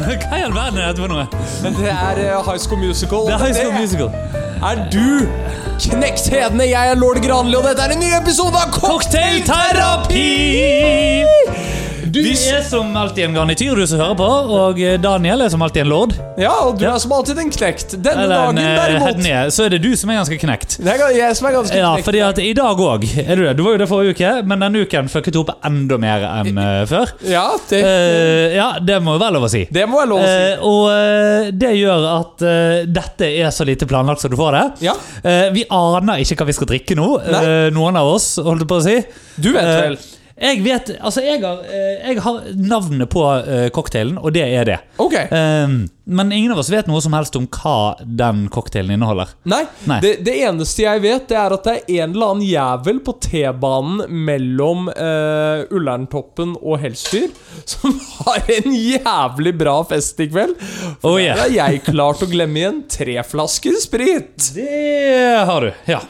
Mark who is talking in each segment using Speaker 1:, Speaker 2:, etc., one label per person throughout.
Speaker 1: Hva i all verden er dette for noe?
Speaker 2: Det er eh, High School Musical.
Speaker 1: Det er High School
Speaker 2: Det
Speaker 1: Musical.
Speaker 2: Er du knekt hedene? Jeg er lord Granli, og dette er en ny episode av
Speaker 1: Cocktailterapi!
Speaker 2: Du,
Speaker 1: Vi er som alltid en garnityr du som hører på, og eh, Daniel er som alltid en lord.
Speaker 2: ja, og du er som alltid en knekt. Denne
Speaker 1: Eller en
Speaker 2: dagen,
Speaker 1: eh,
Speaker 2: derimot
Speaker 1: headney. Så er det du som er ganske knekt.
Speaker 2: Det er jeg som er ganske
Speaker 1: Ja,
Speaker 2: knekt.
Speaker 1: fordi at i dag òg er du det. Du var jo det forrige uke, men denne uken fucket du opp enda mer enn eh, før.
Speaker 2: Ja, det,
Speaker 1: Eh, ja, det må jo være lov å si.
Speaker 2: det må jeg lov å si.
Speaker 1: Eh, og eh, det gjør at eh, dette er så lite planlagt som du får det.
Speaker 2: Ja.
Speaker 1: Eh, vi aner ikke hva vi skal drikke nå,
Speaker 2: Nei.
Speaker 1: eh, noen av oss, holdt jeg på å si.
Speaker 2: Du vet
Speaker 1: Eh,
Speaker 2: vel.
Speaker 1: jeg vet, altså jeg har, eh, jeg har navnet på eh, cocktailen, og det er det.
Speaker 2: Ok.
Speaker 1: Eh, men ingen av oss vet noe som helst om hva den cocktailen inneholder.
Speaker 2: Nei.
Speaker 1: Nei.
Speaker 2: Det, det eneste jeg vet, det er at det er en eller annen jævel på T-banen mellom eh, Ullerntoppen og Helsfyr som har en jævlig bra fest i kveld.
Speaker 1: Oh, yeah.
Speaker 2: Der har jeg klart å glemme igjen tre flasker sprit.
Speaker 1: Det har du, ja.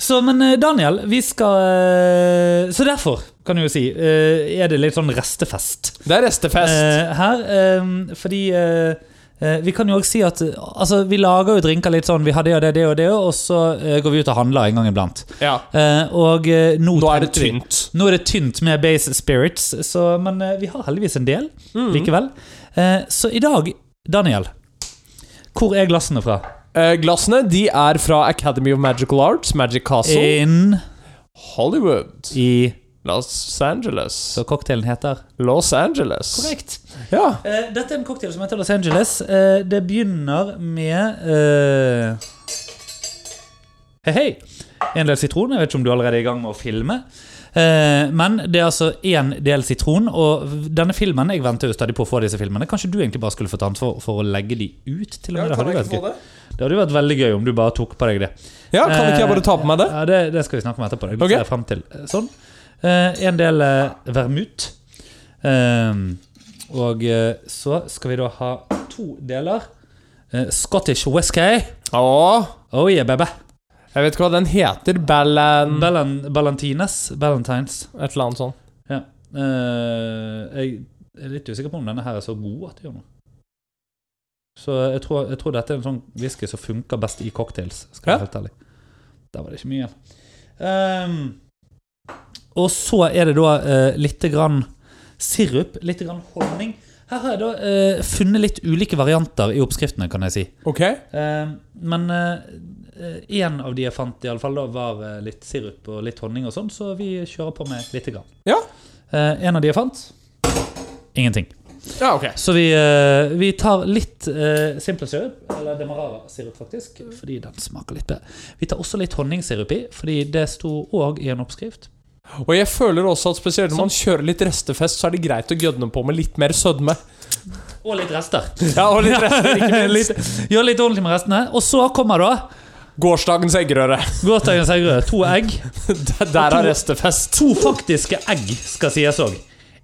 Speaker 1: Så, men eh, Daniel, vi skal eh, Så derfor, kan jeg jo si, eh, er det litt sånn restefest.
Speaker 2: Det er restefest.
Speaker 1: eh, her. eh, fordi eh, eh, vi kan jo også si at eh, altså, vi lager jo drinker litt sånn Vi har det og det, det og det, og så eh, går vi ut og handler en gang iblant.
Speaker 2: ja.
Speaker 1: Eh, og eh, nå,
Speaker 2: Nå er det
Speaker 1: tenkte vi-
Speaker 2: tynt.
Speaker 1: Nå er det tynt med base spirits, så, men eh, vi har heldigvis en del
Speaker 2: Mm.
Speaker 1: likevel. Eh, så i dag, Daniel, hvor er glassene fra?
Speaker 2: Eh, glassene de er fra Academy of Magical Arts, Magic Castle,
Speaker 1: Inn Eh.
Speaker 2: Hollywood,
Speaker 1: i
Speaker 2: Los Angeles.
Speaker 1: Så cocktailen heter
Speaker 2: Los Angeles.
Speaker 1: Korrekt.
Speaker 2: Ja.
Speaker 1: Eh, dette er en cocktail som heter Los Angeles. Eh, det begynner med eh, Hei, hei! En del sitron. Jeg vet ikke om du allerede er i gang med å filme. Eh, men det er altså én del sitron, og denne filmen Jeg venter jo stadig på å få disse filmene. Kanskje du egentlig bare skulle fått ansvar for å legge de ut? til og med. det, hadde vært gøy.
Speaker 2: det?
Speaker 1: det hadde jo vært veldig gøy om du bare tok på deg det.
Speaker 2: Ja, kan ikke jeg bare ta på meg det?
Speaker 1: Eh, Ja, det, det skal vi snakke om etterpå. Det
Speaker 2: Ok.
Speaker 1: ser jeg frem til. Sånn. Eh, en del eh, vermut. Ehm, og eh, så skal vi da ha to deler. Eh, Scottish whisky.
Speaker 2: Åh.
Speaker 1: Oh yeah, baby.
Speaker 2: Jeg vet ikke hva den heter. Ballan...
Speaker 1: Balan, Ballantines. Ballantines.
Speaker 2: Et eller annet sånt.
Speaker 1: Ja. Eh, jeg er litt usikker på om denne her er så god at det gjør noe. Så jeg tror, jeg tror dette er en sånn whisky som funker best i cocktails. Skal jeg
Speaker 2: Ja.
Speaker 1: være helt ærlig. Der var det ikke mye igjen. Ehm, og så er det da uh, litt grann sirup, litt grann honning. Her har jeg da eh, funnet litt ulike varianter i oppskriftene, kan jeg si.
Speaker 2: Ok.
Speaker 1: Eh, men én av de jeg fant, i alle fall da, var eh, litt sirup og litt honning, og sånn, så vi kjører på med lite grann.
Speaker 2: Ja.
Speaker 1: Eh, en av de jeg fant ingenting.
Speaker 2: Ja, ok.
Speaker 1: Så vi, eh, vi tar litt uh, simple sirup, eller demerara-sirup, faktisk, fordi den smaker litt bedre. Vi tar også litt honningsirup i, fordi det sto òg i en oppskrift.
Speaker 2: Og jeg føler også at spesielt når man kjører litt restefest, så er det greit å gønne på med litt mer sødme.
Speaker 1: Og litt rester.
Speaker 2: Ja, og litt rester, ikke minst.
Speaker 1: litt, gjør litt ordentlig med restene. Og så kommer da
Speaker 2: Gårsdagens eggerøre.
Speaker 1: gårsdagens eggerøre. To egg.
Speaker 2: Der der er restefest.
Speaker 1: To faktiske egg skal sies òg.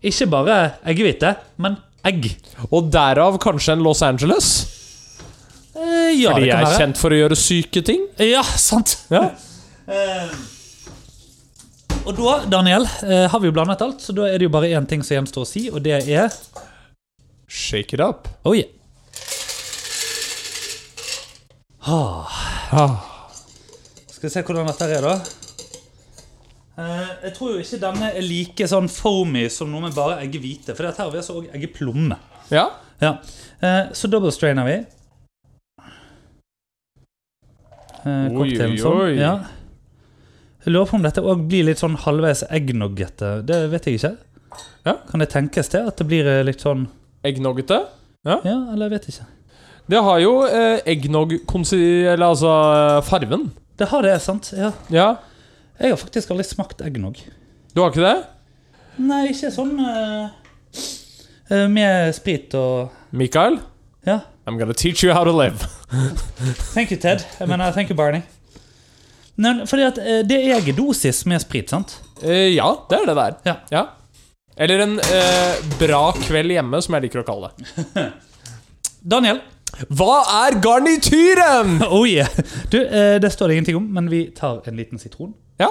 Speaker 1: Ikke bare eggehvite, men egg.
Speaker 2: Og derav kanskje en Los Angeles.
Speaker 1: Eh, ja,
Speaker 2: Fordi
Speaker 1: det
Speaker 2: jeg
Speaker 1: kan
Speaker 2: er
Speaker 1: være.
Speaker 2: kjent for å gjøre syke ting.
Speaker 1: Ja, sant.
Speaker 2: Ja.
Speaker 1: Eh, og da, Daniel, eh, har vi jo blandet alt, så da er det jo bare én ting som gjenstår å si, og det er
Speaker 2: Shake it up.
Speaker 1: Oh yeah.
Speaker 2: Ah.
Speaker 1: Skal vi se hvordan dette her er, da. Eh, jeg tror jo ikke denne er like sånn foamy som noe med bare eggehvite, for dette her har vi altså òg eggeplomme.
Speaker 2: Ja.
Speaker 1: Ja. Eh, så double strainer vi. Eh,
Speaker 2: Oi,
Speaker 1: cocktailen
Speaker 2: oi,
Speaker 1: sånn.
Speaker 2: oi.
Speaker 1: Ja. Jeg lurer på om dette òg blir litt sånn halvveis eggnoggete. Det vet jeg ikke.
Speaker 2: Ja.
Speaker 1: Kan det tenkes det? At det blir eh, litt sånn
Speaker 2: Eggnoggete.
Speaker 1: Ja, eller jeg vet ikke.
Speaker 2: Det har jo eh, eggnog-konsi... Eller altså eh, farven.
Speaker 1: Det har det, sant? Ja.
Speaker 2: Ja.
Speaker 1: Jeg har faktisk aldri smakt eggnogg.
Speaker 2: Du har ikke det?
Speaker 1: Nei, ikke sånn eh, eh, Med sprit og
Speaker 2: Mikael?
Speaker 1: Ja.
Speaker 2: I'm gonna teach you how to live.
Speaker 1: Thank you, Ted. Jeg mener, thank you, Barney. Nei, fordi at eh, det er eggdosis med sprit, sant?
Speaker 2: Eh, ja, det er det der.
Speaker 1: Ja.
Speaker 2: Eller en eh, bra kveld hjemme, som jeg liker å kalle det.
Speaker 1: Daniel,
Speaker 2: Hva er garnityren?!
Speaker 1: Oh yeah. Du, eh, Det står det ingenting om, men vi tar en liten sitron.
Speaker 2: Ja.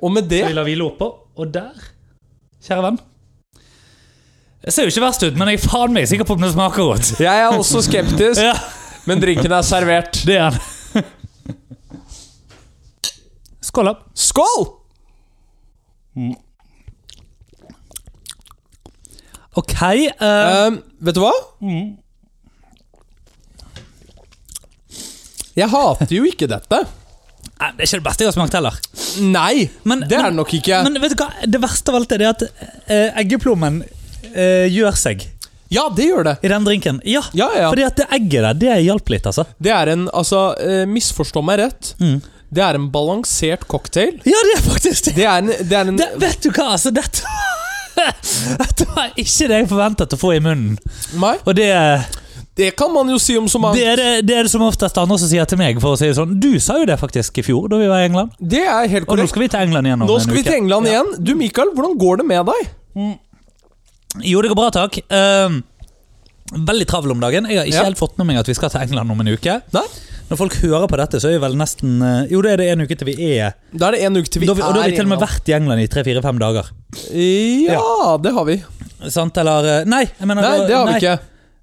Speaker 2: Og med
Speaker 1: Så vi
Speaker 2: det
Speaker 1: lar hvile oppå, og der, kjære venn Det ser jo ikke verst ut, men jeg er faen meg sikker på om det smaker godt.
Speaker 2: Jeg er også skeptisk,
Speaker 1: Ja,
Speaker 2: men drinken er servert.
Speaker 1: det er den. Skål, da.
Speaker 2: Skål!
Speaker 1: OK. eh,
Speaker 2: Ehm, vet du hva? Jeg hater jo ikke dette.
Speaker 1: nei, det er ikke det beste jeg har smakt heller.
Speaker 2: Nei,
Speaker 1: Men-
Speaker 2: det er
Speaker 1: men-
Speaker 2: det nok ikke.
Speaker 1: Men vet du hva? det verste av alt er det at eh, eggeplommen eh, gjør seg
Speaker 2: ja, det gjør det.
Speaker 1: i den drinken. Ja,
Speaker 2: Ja, ja.
Speaker 1: fordi at det egget der, det hjalp litt, altså.
Speaker 2: Det er en Altså, eh, misforstå meg rett.
Speaker 1: Mm.
Speaker 2: Det er en balansert cocktail.
Speaker 1: Ja, det er faktisk det.
Speaker 2: Det er en, det er en
Speaker 1: det vet du hva, altså, dette Dette var ikke det jeg forventet å få i munnen.
Speaker 2: Nei,
Speaker 1: Og det,
Speaker 2: det kan man jo si om så
Speaker 1: det,
Speaker 2: mange.
Speaker 1: er, det, det er det som oftest andre som sier til meg, for å si det sånn. Du sa jo det faktisk i fjor, da vi var i England.
Speaker 2: Det, er helt
Speaker 1: Og nå
Speaker 2: korrekt.
Speaker 1: skal vi til England igjen om
Speaker 2: Nå
Speaker 1: en
Speaker 2: skal vi
Speaker 1: uke.
Speaker 2: til England igjen. Du, Mikael, hvordan går det med deg?
Speaker 1: Jo, det går bra, takk. Ehm, veldig travel om dagen. Jeg har ikke
Speaker 2: Ja.
Speaker 1: helt fått med meg at vi skal til England om en uke.
Speaker 2: Nei,
Speaker 1: Når folk hører på dette, så er vi vel nesten eh, Jo, da er det en uke til vi er
Speaker 2: Da er det en uke til vi
Speaker 1: da, vi- Og da har
Speaker 2: er
Speaker 1: vi til og med vært i England i tre-fire-fem dager.
Speaker 2: Ja, det har vi.
Speaker 1: Sant, eller eh, Nei, jeg mener,
Speaker 2: Nei,
Speaker 1: da-
Speaker 2: det har vi
Speaker 1: nei.
Speaker 2: ikke.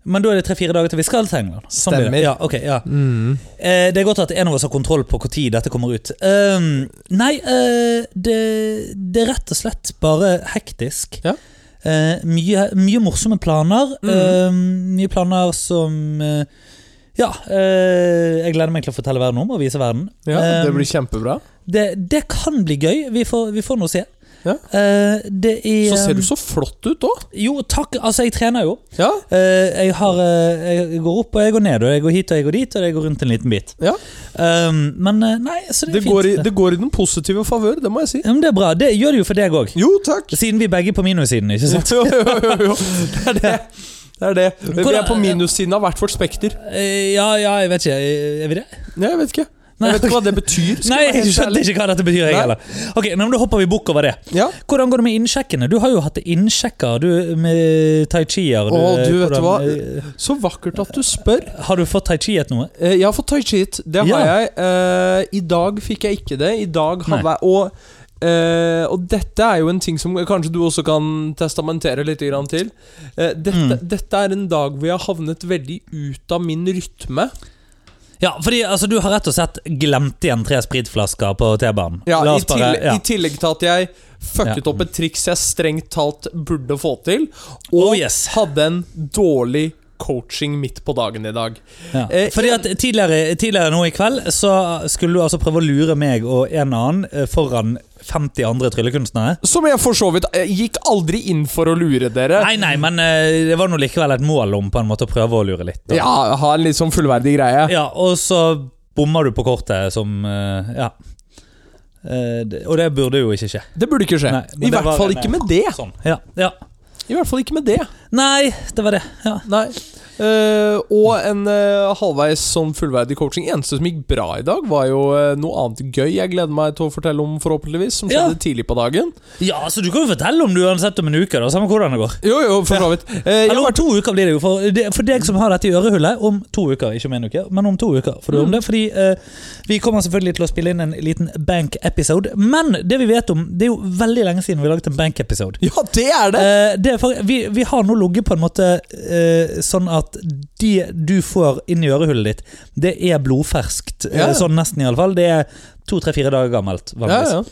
Speaker 1: Men da er det tre-fire dager til vi skal til England. Sånn blir det.
Speaker 2: Stemmer.
Speaker 1: Ja, ok, ja.
Speaker 2: Mm.
Speaker 1: Eh, det er godt at en av oss har kontroll på når dette kommer ut. Ehm, nei, eh, det, det er rett og slett bare hektisk.
Speaker 2: Ja. Mm.
Speaker 1: Eh, mye, mye morsomme planer. Ehm, mye planer som eh, Ja. eh, jeg gleder meg til å fortelle verden om og vise verden.
Speaker 2: Ja,
Speaker 1: Ehm,
Speaker 2: Det blir kjempebra.
Speaker 1: det, det kan bli gøy. Vi får, vi får nå se.
Speaker 2: Ja.
Speaker 1: Eh, det er
Speaker 2: Så ser du så flott ut òg.
Speaker 1: Jo, takk. Altså, jeg trener jo.
Speaker 2: Ja,
Speaker 1: Eh, jeg, har, eh, jeg går opp og jeg går ned, og jeg går hit og jeg går dit, og jeg går rundt en liten bit.
Speaker 2: ja.
Speaker 1: Um, men eh, nei, så det
Speaker 2: Det,
Speaker 1: er
Speaker 2: går i,
Speaker 1: fint.
Speaker 2: det går i den positive favør, det må jeg si.
Speaker 1: Ja, men det er bra. Det gjør det jo for deg òg.
Speaker 2: Jo, takk.
Speaker 1: Siden vi begge er på minussiden, ikke sant?
Speaker 2: Jo, jo, jo, jo. Det er det. Det er det. Vi er på minussiden av hvert vårt spekter.
Speaker 1: Eh, ja, ja, jeg vet ikke. Eh, Er vi det?
Speaker 2: Nei, jeg vet ikke.
Speaker 1: Nei.
Speaker 2: Jeg vet ikke hva det betyr. skal
Speaker 1: Nei,
Speaker 2: jeg være
Speaker 1: jeg
Speaker 2: helt
Speaker 1: skjønte
Speaker 2: ærlig.
Speaker 1: ikke hva dette betyr, jeg
Speaker 2: Nei.
Speaker 1: heller. Ok, nei, men Da hopper vi bukk over det.
Speaker 2: Ja.
Speaker 1: Hvordan går det med innsjekkene? Du har jo hatt innsjekker du med tai chi-er.
Speaker 2: Å, du vet
Speaker 1: hvordan,
Speaker 2: hva?
Speaker 1: eh,
Speaker 2: Så vakkert at du spør.
Speaker 1: Har du fått tai chi-et noe?
Speaker 2: Eh, Jeg har fått tai chi-et. Det har
Speaker 1: Ja.
Speaker 2: jeg. Eh, I dag fikk jeg ikke det. I dag har
Speaker 1: Nei.
Speaker 2: væ- og, eh, og dette er jo en ting som kanskje du også kan testamentere litt grann til. Eh, dette,
Speaker 1: Mm.
Speaker 2: dette er en dag hvor jeg har havnet veldig ut av min rytme.
Speaker 1: Ja, fordi altså, du har rett og slett glemt igjen tre spritflasker på T-banen.
Speaker 2: Ja,
Speaker 1: La
Speaker 2: i,
Speaker 1: oss
Speaker 2: til,
Speaker 1: bare- ja.
Speaker 2: I tillegg til at jeg fucket
Speaker 1: Ja.
Speaker 2: opp et triks jeg strengt talt burde få til, og
Speaker 1: Oh, yes.
Speaker 2: hadde en dårlig coaching midt på dagen i dag.
Speaker 1: Ja.
Speaker 2: Eh,
Speaker 1: Fordi at tidligere, tidligere nå i kveld Så skulle du altså prøve å lure meg og en annen eh, foran 50 andre tryllekunstnere.
Speaker 2: Som jeg for så vidt jeg gikk aldri inn for å lure dere.
Speaker 1: Nei, nei, men eh, det var nå likevel et mål om på en måte å prøve å lure litt. da.
Speaker 2: Ja, ha en litt sånn fullverdig greie.
Speaker 1: Ja, og så bommer du på kortet som eh, Ja. Eh, det- Og det burde jo ikke skje.
Speaker 2: Det burde ikke skje.
Speaker 1: Nei, men
Speaker 2: I
Speaker 1: det
Speaker 2: hvert
Speaker 1: var
Speaker 2: fall
Speaker 1: en-
Speaker 2: ikke med det.
Speaker 1: Sånn. Ja, ja.
Speaker 2: I hvert fall ikke med det.
Speaker 1: Nei, det var det. Ja.
Speaker 2: Nei. Eh, og en eh, halvveis sånn fullverdig coaching. Eneste som gikk bra i dag, var jo eh, noe annet gøy jeg gleder meg til å fortelle om, forhåpentligvis, som
Speaker 1: Ja.
Speaker 2: skjedde tidlig på dagen.
Speaker 1: ja, så du kan jo fortelle om du uansett om en uke, da, samme hvordan det går.
Speaker 2: Jo, jo, for så vidt. Eh, jeg
Speaker 1: Eller
Speaker 2: var
Speaker 1: om to uker blir det jo for, det- for deg som har dette i ørehullet. Om to uker, ikke om en uke, men om to uker. For du
Speaker 2: Mm.
Speaker 1: om det, fordi eh, Vi kommer selvfølgelig til å spille inn en liten bank-episode. Men det vi vet om, det er jo veldig lenge siden vi laget en bank-episode.
Speaker 2: Ja, det er det!
Speaker 1: Eh, det er for, vi, vi har nå ligget på en måte eh, sånn at det du får inn i ørehullet ditt, det er blodferskt.
Speaker 2: Ja.
Speaker 1: Eh, sånn nesten, iallfall. Det er to-tre-fire dager gammelt.
Speaker 2: ja,
Speaker 1: vanligvis.
Speaker 2: ja.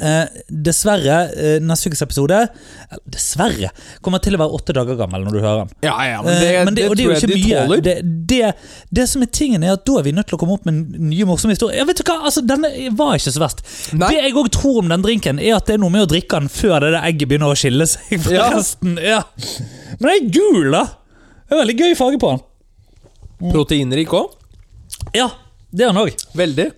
Speaker 1: Eh, dessverre, eh, neste ukes episode eh, Dessverre kommer til å være åtte dager gammel når du hører den.
Speaker 2: ja, ja men det,
Speaker 1: Eh, men det, og det
Speaker 2: tror
Speaker 1: er jo
Speaker 2: jeg
Speaker 1: ikke
Speaker 2: de
Speaker 1: mye.
Speaker 2: tåler.
Speaker 1: Det, det, det som er tingen er at Da er vi nødt til å komme opp med nye morsomme historier. Ja, vet du hva? Altså, Denne var ikke så verst.
Speaker 2: Nei.
Speaker 1: Det jeg òg tror om den drinken, er at det er noe med å drikke den før det der egget begynner å skille seg. fra
Speaker 2: Ja.
Speaker 1: resten. Ja. Men den er gul, da! Det er veldig gøy farge på den.
Speaker 2: Proteinrik òg.
Speaker 1: Ja, det er den òg.
Speaker 2: Veldig.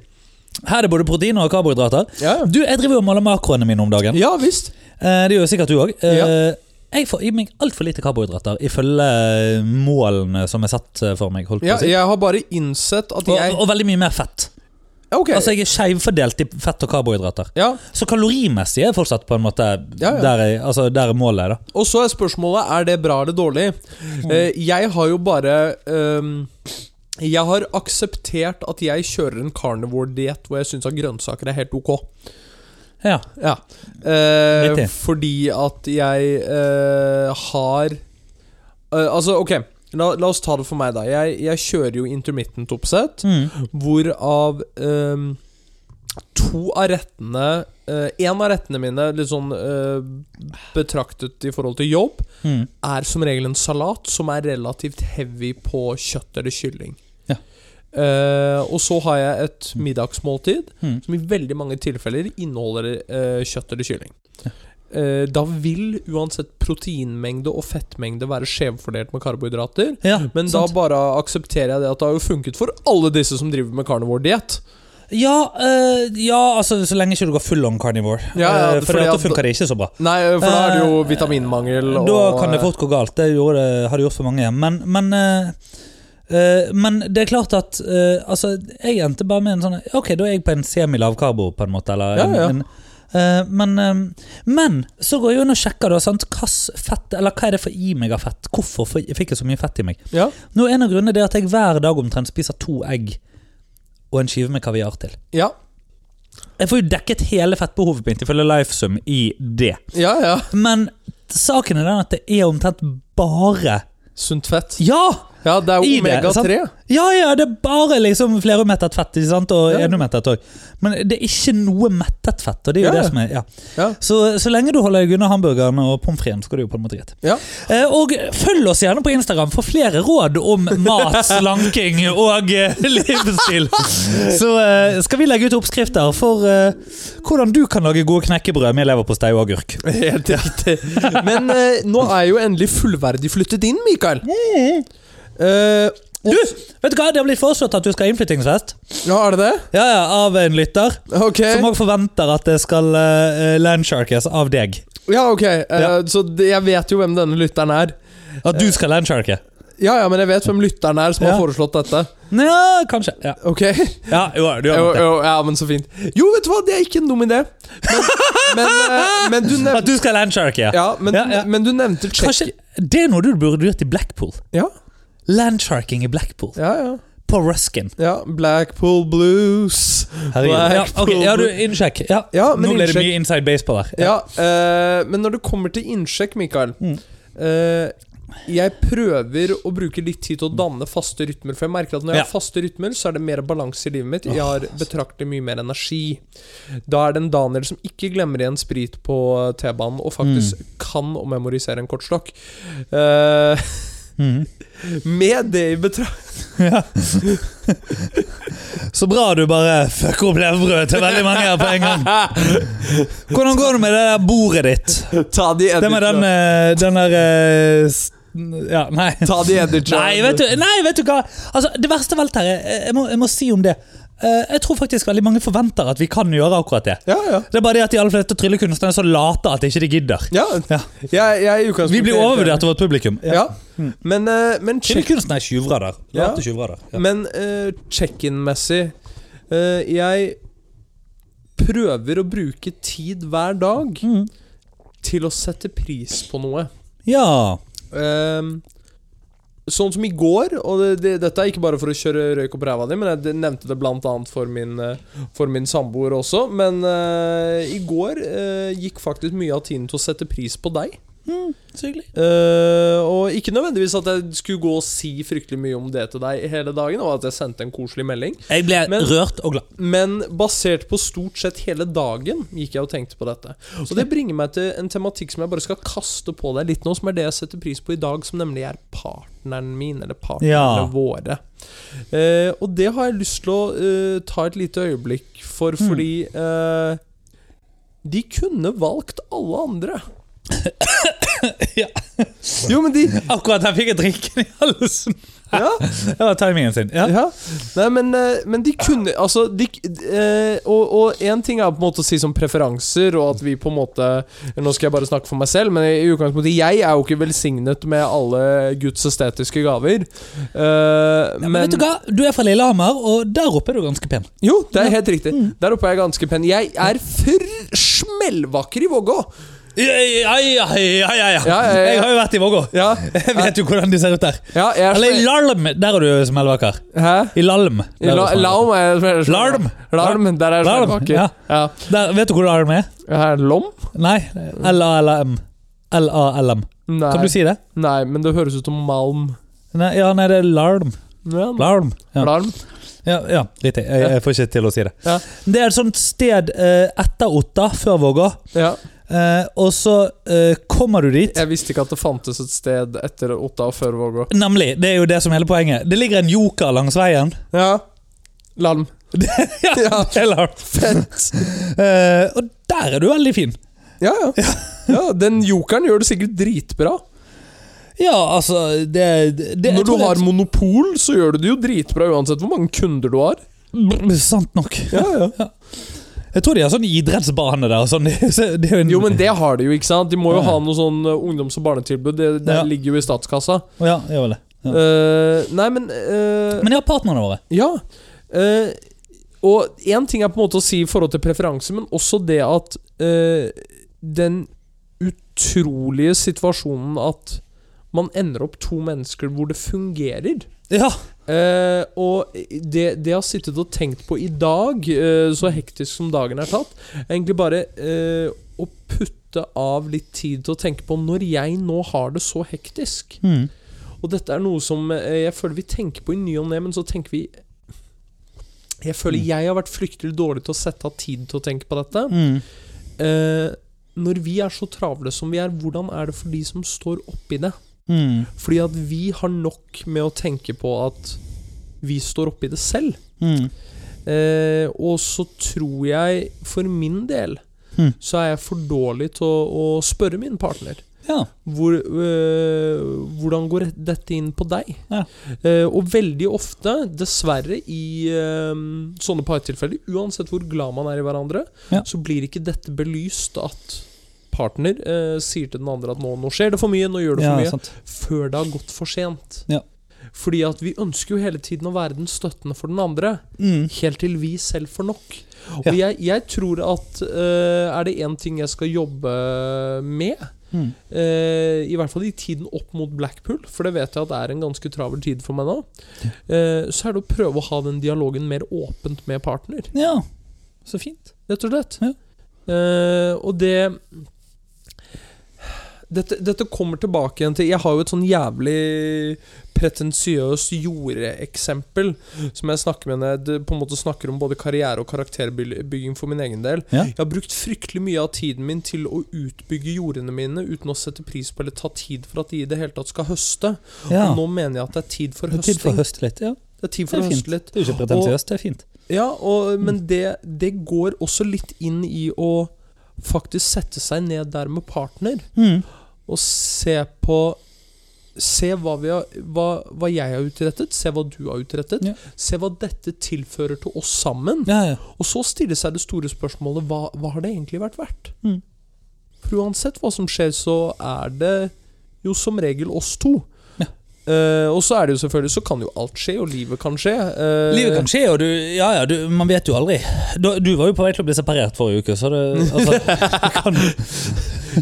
Speaker 1: Her er det både proteiner og karbohydrater.
Speaker 2: Ja.
Speaker 1: Du, Jeg driver jo og maler makroene mine om dagen.
Speaker 2: Ja visst.
Speaker 1: Eh, Det gjør sikkert du òg.
Speaker 2: Ja.
Speaker 1: Jeg får i meg altfor lite karbohydrater ifølge målene som er satt eh, for meg. holdt
Speaker 2: Ja,
Speaker 1: på å si.
Speaker 2: jeg har bare innsett at jeg
Speaker 1: Og, og veldig mye mer fett.
Speaker 2: Ok.
Speaker 1: Altså Jeg er skjevfordelt i fett og karbohydrater.
Speaker 2: Ja,
Speaker 1: Så kalorimessig er jeg fortsatt på en måte
Speaker 2: Ja, ja.
Speaker 1: Der, er, altså, der er målet. da
Speaker 2: Og så er spørsmålet er det bra eller dårlig. Eh, jeg har jo bare ehm, Jeg har akseptert at jeg kjører en carnivore-diett hvor jeg syns at grønnsaker er helt ok.
Speaker 1: Ja.
Speaker 2: Ja. Eh,
Speaker 1: Riktig.
Speaker 2: fordi at jeg eh, har eh, Altså, ok. La, la oss ta det for meg, da. Jeg, jeg kjører jo intermittent oppsett,
Speaker 1: Mm.
Speaker 2: hvorav ehm, to av rettene Én av rettene mine, litt sånn eh, betraktet i forhold til jobb,
Speaker 1: Mm.
Speaker 2: er som regel en salat som er relativt heavy på kjøtt eller kylling.
Speaker 1: Ja.
Speaker 2: Eh, og så har jeg et middagsmåltid
Speaker 1: Mm.
Speaker 2: som i veldig mange tilfeller inneholder eh, kjøtt eller kylling. Eh, da vil uansett proteinmengde og fettmengde være skjevfordelt med karbohydrater.
Speaker 1: Ja,
Speaker 2: Men
Speaker 1: sant.
Speaker 2: da bare aksepterer jeg det at det har jo funket for alle disse som driver med carnivore-diett.
Speaker 1: Ja, eh, ja, altså så lenge ikke du går full on carnivore.
Speaker 2: Ja, ja,
Speaker 1: Eh, for
Speaker 2: fordi
Speaker 1: da
Speaker 2: at-
Speaker 1: funker det ikke så bra.
Speaker 2: Nei, for da er det jo
Speaker 1: Eh,
Speaker 2: vitaminmangel og
Speaker 1: Da kan det fort gå galt. Det gjorde, har det gjort for mange. Men, men, eh, eh, men det er klart at eh, Altså, jeg endte bare med en sånn Ok, da er jeg på en semilav karbo, på en måte. Eller,
Speaker 2: Ja, ja.
Speaker 1: En, eh, men, eh, men så går jeg inn og sjekker da, sant? Hva, fett, eller, hva er det for i meg av fett. Hvorfor f- fikk jeg så mye fett i meg?
Speaker 2: Ja,
Speaker 1: Nå, En av grunnene er at jeg hver dag omtrent spiser to egg og en skive med kaviar til.
Speaker 2: ja,
Speaker 1: Jeg får jo dekket hele fettbehovet mitt ifølge Lifesum i det.
Speaker 2: ja, ja.
Speaker 1: Men saken er den at det er omtrent bare
Speaker 2: Sunt fett.
Speaker 1: Ja!
Speaker 2: Ja, det er
Speaker 1: I
Speaker 2: jo
Speaker 1: det, sant?
Speaker 2: omega-3.
Speaker 1: Ja, ja, det er bare liksom flerumettet fett ikke sant? og
Speaker 2: Ja.
Speaker 1: enumettet òg. Men det er ikke noe mettet fett. og det er jo
Speaker 2: Ja, ja.
Speaker 1: det som er, ja.
Speaker 2: Ja.
Speaker 1: Så, så lenge du holder deg unna hamburgeren og pommes frites, går det jo på en måte greit.
Speaker 2: Ja.
Speaker 1: Eh, Og følg oss gjerne på Instagram for flere råd om mat, slanking og eh, livsstil. Så eh, skal vi legge ut oppskrifter for eh, hvordan du kan lage gode knekkebrød med leverpostei og agurk.
Speaker 2: Helt riktig. Men eh, nå er jo endelig fullverdig flyttet inn, Mikael. Eh,
Speaker 1: Du, vet du hva? Det har blitt foreslått at du skal ha innflyttingsfest.
Speaker 2: ja, er det det?
Speaker 1: Ja, ja, Av en lytter.
Speaker 2: Ok.
Speaker 1: Som òg forventer at det skal eh, landsharkes av deg.
Speaker 2: Ja, ok. Eh,
Speaker 1: Ja.
Speaker 2: Så det- jeg vet jo hvem denne lytteren er.
Speaker 1: At
Speaker 2: Eh.
Speaker 1: du skal landsharke.
Speaker 2: Ja, ja, men jeg vet hvem lytteren er som
Speaker 1: Ja.
Speaker 2: har foreslått dette.
Speaker 1: Nja, kanskje. Ja,
Speaker 2: Ok?
Speaker 1: ja jo, du gjør
Speaker 2: Jo,
Speaker 1: nok det.
Speaker 2: jo, ja, men så fint. Jo, vet du hva, det er ikke en dum idé. Men, men, eh, men du nevnte
Speaker 1: At du skal landsharke, ja.
Speaker 2: ja, men,
Speaker 1: Ja, ja.
Speaker 2: men du nevnte Tsjekkia.
Speaker 1: Kanskje, det er noe du burde gjort i Blackpool.
Speaker 2: Ja,
Speaker 1: Landsharking i Blackpool.
Speaker 2: ja, ja.
Speaker 1: På Ruskin.
Speaker 2: ja. Blackpool Blues.
Speaker 1: Herregud. Ja,
Speaker 2: Blackpool
Speaker 1: ok, ja, du,
Speaker 2: Blues.
Speaker 1: innsjekk. Ja.
Speaker 2: Ja, men
Speaker 1: Nå ble det
Speaker 2: innsjekk.
Speaker 1: mye inside baseball her.
Speaker 2: Ja, eh, men når det kommer til innsjekk, Mikael
Speaker 1: Mm.
Speaker 2: eh, Jeg prøver å bruke litt tid til å danne faste rytmer, for jeg merker at når jeg
Speaker 1: Ja. Ah,
Speaker 2: har faste rytmer, så er det mer balanse i livet mitt. Jeg har betraktelig mye mer energi. Da er det en Daniel som ikke glemmer igjen sprit på eh, T-banen, og faktisk
Speaker 1: Mm.
Speaker 2: kan å memorisere en kortstokk. Eh,
Speaker 1: Mhm.
Speaker 2: med det i betrakt...
Speaker 1: Så bra du bare fucker opp leverbrødet til veldig mange her på en gang. Hvordan går det med det der bordet ditt?
Speaker 2: Ta de
Speaker 1: Det med den,
Speaker 2: editene.
Speaker 1: eh, den der eh, s- Ja, nei.
Speaker 2: Ta de editene.
Speaker 1: Nei, vet du, nei, vet du hva? Altså, det verste av alt her, er- jeg må, jeg må si om det Eh, Jeg tror faktisk veldig mange forventer at vi kan gjøre akkurat det.
Speaker 2: Ja, ja.
Speaker 1: Det er bare det at de aller fleste tryllekunstnere er så late at ikke de gidder.
Speaker 2: ja.
Speaker 1: Ja.
Speaker 2: Jeg, jeg er i utgangspunktet
Speaker 1: Vi blir
Speaker 2: helt enig.
Speaker 1: overvurdert av vårt publikum.
Speaker 2: Ja. Men, eh, men check-
Speaker 1: Tryllekunsten er tjuvradar.
Speaker 2: Ja.
Speaker 1: Late tjuvradar. Ja.
Speaker 2: Men eh, check-in-messig eh, Jeg prøver å bruke tid hver dag
Speaker 1: Mm.
Speaker 2: til å sette pris på noe.
Speaker 1: ja.
Speaker 2: Ehm, sånn som i går, og det, det, dette er ikke bare for å kjøre røyk opp ræva di, men jeg d- nevnte det bl.a. For, min, eh, for min samboer også. Men eh, i går eh, gikk faktisk mye av tiden til å sette pris på deg.
Speaker 1: Så hyggelig.
Speaker 2: Eh, og ikke nødvendigvis at jeg skulle gå og si fryktelig mye om det til deg hele dagen, og at jeg sendte en koselig melding.
Speaker 1: Jeg ble
Speaker 2: Men-
Speaker 1: rørt og glad.
Speaker 2: Men basert på stort sett hele dagen gikk jeg og tenkte på dette. Og det bringer meg til en tematikk som jeg bare skal kaste på deg litt nå, som er det jeg setter pris på i dag, som nemlig er partneren min, eller partnerne
Speaker 1: Ja.
Speaker 2: våre. Eh, og det har jeg lyst til å eh, ta et lite øyeblikk for,
Speaker 1: Mm.
Speaker 2: fordi eh, de kunne valgt alle andre.
Speaker 1: Ja.
Speaker 2: Jo, men de
Speaker 1: Akkurat der fikk jeg drinken i halsen.
Speaker 2: Ja.
Speaker 1: Det var timingen sin. Ja.
Speaker 2: Ja. Nei, men, eh, men de kunne Altså, de eh, Og og én ting er på en måte å si som preferanser, og at vi på en måte Nå skal jeg bare snakke for meg selv, men i utgangspunktet jeg er jo ikke velsignet med alle Guds estetiske gaver. Eh,
Speaker 1: Ja, men, vet du hva? Du er fra Lillehammer, og der oppe er du ganske pen.
Speaker 2: Jo,
Speaker 1: Mm.
Speaker 2: det er helt riktig. Der oppe er jeg ganske pen. Jeg er fr smellvakker i Vågå.
Speaker 1: Ja, ja, ja, ja, ja, ja.
Speaker 2: Ja, ja, ja.
Speaker 1: Jeg har jo vært i Vågå.
Speaker 2: Ja,
Speaker 1: Jeg vet jo hvordan de ser ut der.
Speaker 2: ja Altså, jeg er
Speaker 1: Eller i
Speaker 2: sm-
Speaker 1: Lalm. Der er du smellvakker.
Speaker 2: Hæ?
Speaker 1: I Lalm.
Speaker 2: I
Speaker 1: Der er du
Speaker 2: La-
Speaker 1: smellvakker.
Speaker 2: Laum er jeg
Speaker 1: Larm.
Speaker 2: Larm, der er
Speaker 1: Larm,
Speaker 2: jeg
Speaker 1: ja.
Speaker 2: ja. ja.
Speaker 1: Der, vet du hvor Lalm er?
Speaker 2: Er det Lom?
Speaker 1: Nei. L-A-L-M. L-A-L-M.
Speaker 2: Nei.
Speaker 1: Kan du si det?
Speaker 2: Nei, men det høres ut som malm.
Speaker 1: Nei, ja, nei, det er Larm.
Speaker 2: Ja,
Speaker 1: Larm. Ja.
Speaker 2: Larm.
Speaker 1: Ja, ja litt til. Jeg, jeg får ikke til å si det.
Speaker 2: Ja.
Speaker 1: Det er et sånt sted eh, etter Otta, før Vågå.
Speaker 2: Ja.
Speaker 1: Eh, og så eh, kommer du dit.
Speaker 2: Jeg visste ikke at det fantes et sted etter Otta og før Vågå.
Speaker 1: Nemlig. Det er jo det som er hele poenget. Det ligger en joker langs veien.
Speaker 2: Ja. Larm.
Speaker 1: ja,
Speaker 2: Ja.
Speaker 1: det er Larm.
Speaker 2: Fett.
Speaker 1: Eh, og der er du veldig fin.
Speaker 2: Ja, ja. ja den jokeren gjør det sikkert dritbra.
Speaker 1: Ja, altså det, det, jeg
Speaker 2: Når du
Speaker 1: tror det er-
Speaker 2: har monopol, så gjør du det jo dritbra uansett hvor mange kunder du har.
Speaker 1: Brr, Sant nok.
Speaker 2: Ja, ja.
Speaker 1: Jeg tror de har sånn idrettsbane der. og Sånn. så Det er jo en,
Speaker 2: Jo, men det har de jo, ikke sant? De må jo
Speaker 1: Ja.
Speaker 2: ha noe sånn eh, ungdoms- og barnetilbud. Det, det
Speaker 1: Ja.
Speaker 2: ligger jo i statskassa.
Speaker 1: ja, det er vel det. Ja.
Speaker 2: Eh, nei, men eh,
Speaker 1: Men jeg har partnerne våre.
Speaker 2: Ja. eh, og én ting er på en måte å si i forhold til preferanse, men også det at eh, den utrolige situasjonen at man ender opp to mennesker hvor det fungerer.
Speaker 1: Ja,
Speaker 2: Eh, og det, det jeg har sittet og tenkt på i dag, eh, så hektisk som dagen er tatt, er egentlig bare eh, å putte av litt tid til å tenke på når jeg nå har det så hektisk.
Speaker 1: mm.
Speaker 2: Og dette er noe som eh, jeg føler vi tenker på i ny og ne, men så tenker vi Jeg føler
Speaker 1: Mm.
Speaker 2: jeg har vært fryktelig dårlig til å sette av tid til å tenke på dette.
Speaker 1: Mm.
Speaker 2: Eh, når vi er så travle som vi er, hvordan er det for de som står oppi det?
Speaker 1: Mm.
Speaker 2: Fordi at vi har nok med å tenke på at vi står oppi det selv.
Speaker 1: Mm.
Speaker 2: Eh, og så tror jeg, for min del,
Speaker 1: Mm.
Speaker 2: så er jeg for dårlig til å, å spørre min partner.
Speaker 1: ja.
Speaker 2: Hvor, øh, hvordan går dette inn på deg?
Speaker 1: Ja.
Speaker 2: Eh, og veldig ofte, dessverre, i øh, sånne partilfeller, uansett hvor glad man er i hverandre,
Speaker 1: Ja.
Speaker 2: så blir ikke dette belyst at partner eh, sier til den andre at nå, nå skjer det for mye, nå gjør det
Speaker 1: ja,
Speaker 2: for mye,
Speaker 1: sant.
Speaker 2: før det har gått for sent.
Speaker 1: Ja.
Speaker 2: Fordi at vi ønsker jo hele tiden å være den støttende for den andre.
Speaker 1: Mm.
Speaker 2: Helt til vi selv får nok. Og
Speaker 1: Ja.
Speaker 2: jeg, jeg tror at eh, er det én ting jeg skal jobbe med,
Speaker 1: Mm.
Speaker 2: eh, i hvert fall i tiden opp mot Blackpool, for det vet jeg at det er en ganske travel tid for meg nå, eh, så er det å prøve å ha den dialogen mer åpent med partner,
Speaker 1: Ja, så fint.
Speaker 2: rett og slett.
Speaker 1: Ja.
Speaker 2: Eh, og det dette, dette kommer tilbake igjen til Jeg har jo et sånn jævlig pretensiøst jordeeksempel som jeg snakker med når jeg d- på en måte snakker om både karriere og karakterbygging for min egen del.
Speaker 1: Ja.
Speaker 2: Jeg har brukt fryktelig mye av tiden min til å utbygge jordene mine uten å sette pris på eller ta tid for at de i det hele tatt skal høste.
Speaker 1: ja.
Speaker 2: Og nå mener jeg at det er tid for
Speaker 1: Det er tid for å
Speaker 2: høsting.
Speaker 1: høste litt. Ja.
Speaker 2: Det er tid
Speaker 1: Det
Speaker 2: for
Speaker 1: er
Speaker 2: å
Speaker 1: fint. Mm.
Speaker 2: høste litt.
Speaker 1: Det er jo ikke pretensiøst, det er fint.
Speaker 2: Ja, og, men det, det går også litt inn i å faktisk sette seg ned der med partner
Speaker 1: Mm.
Speaker 2: og se på Se hva, vi har, hva, hva jeg har utrettet, se hva du har utrettet.
Speaker 1: Ja.
Speaker 2: Se hva dette tilfører til oss sammen.
Speaker 1: Ja, ja.
Speaker 2: Og så stille seg det store spørsmålet hva, hva har det egentlig vært verdt?
Speaker 1: Mm.
Speaker 2: For uansett hva som skjer, så er det jo som regel oss to.
Speaker 1: Ja.
Speaker 2: Eh, og så er det jo selvfølgelig Så kan jo alt skje, og livet kan skje. Eh,
Speaker 1: Livet kan skje, og du, ja, ja, du, man vet jo aldri. Du, du var jo på vei til å bli separert forrige uke, så det, altså, det kan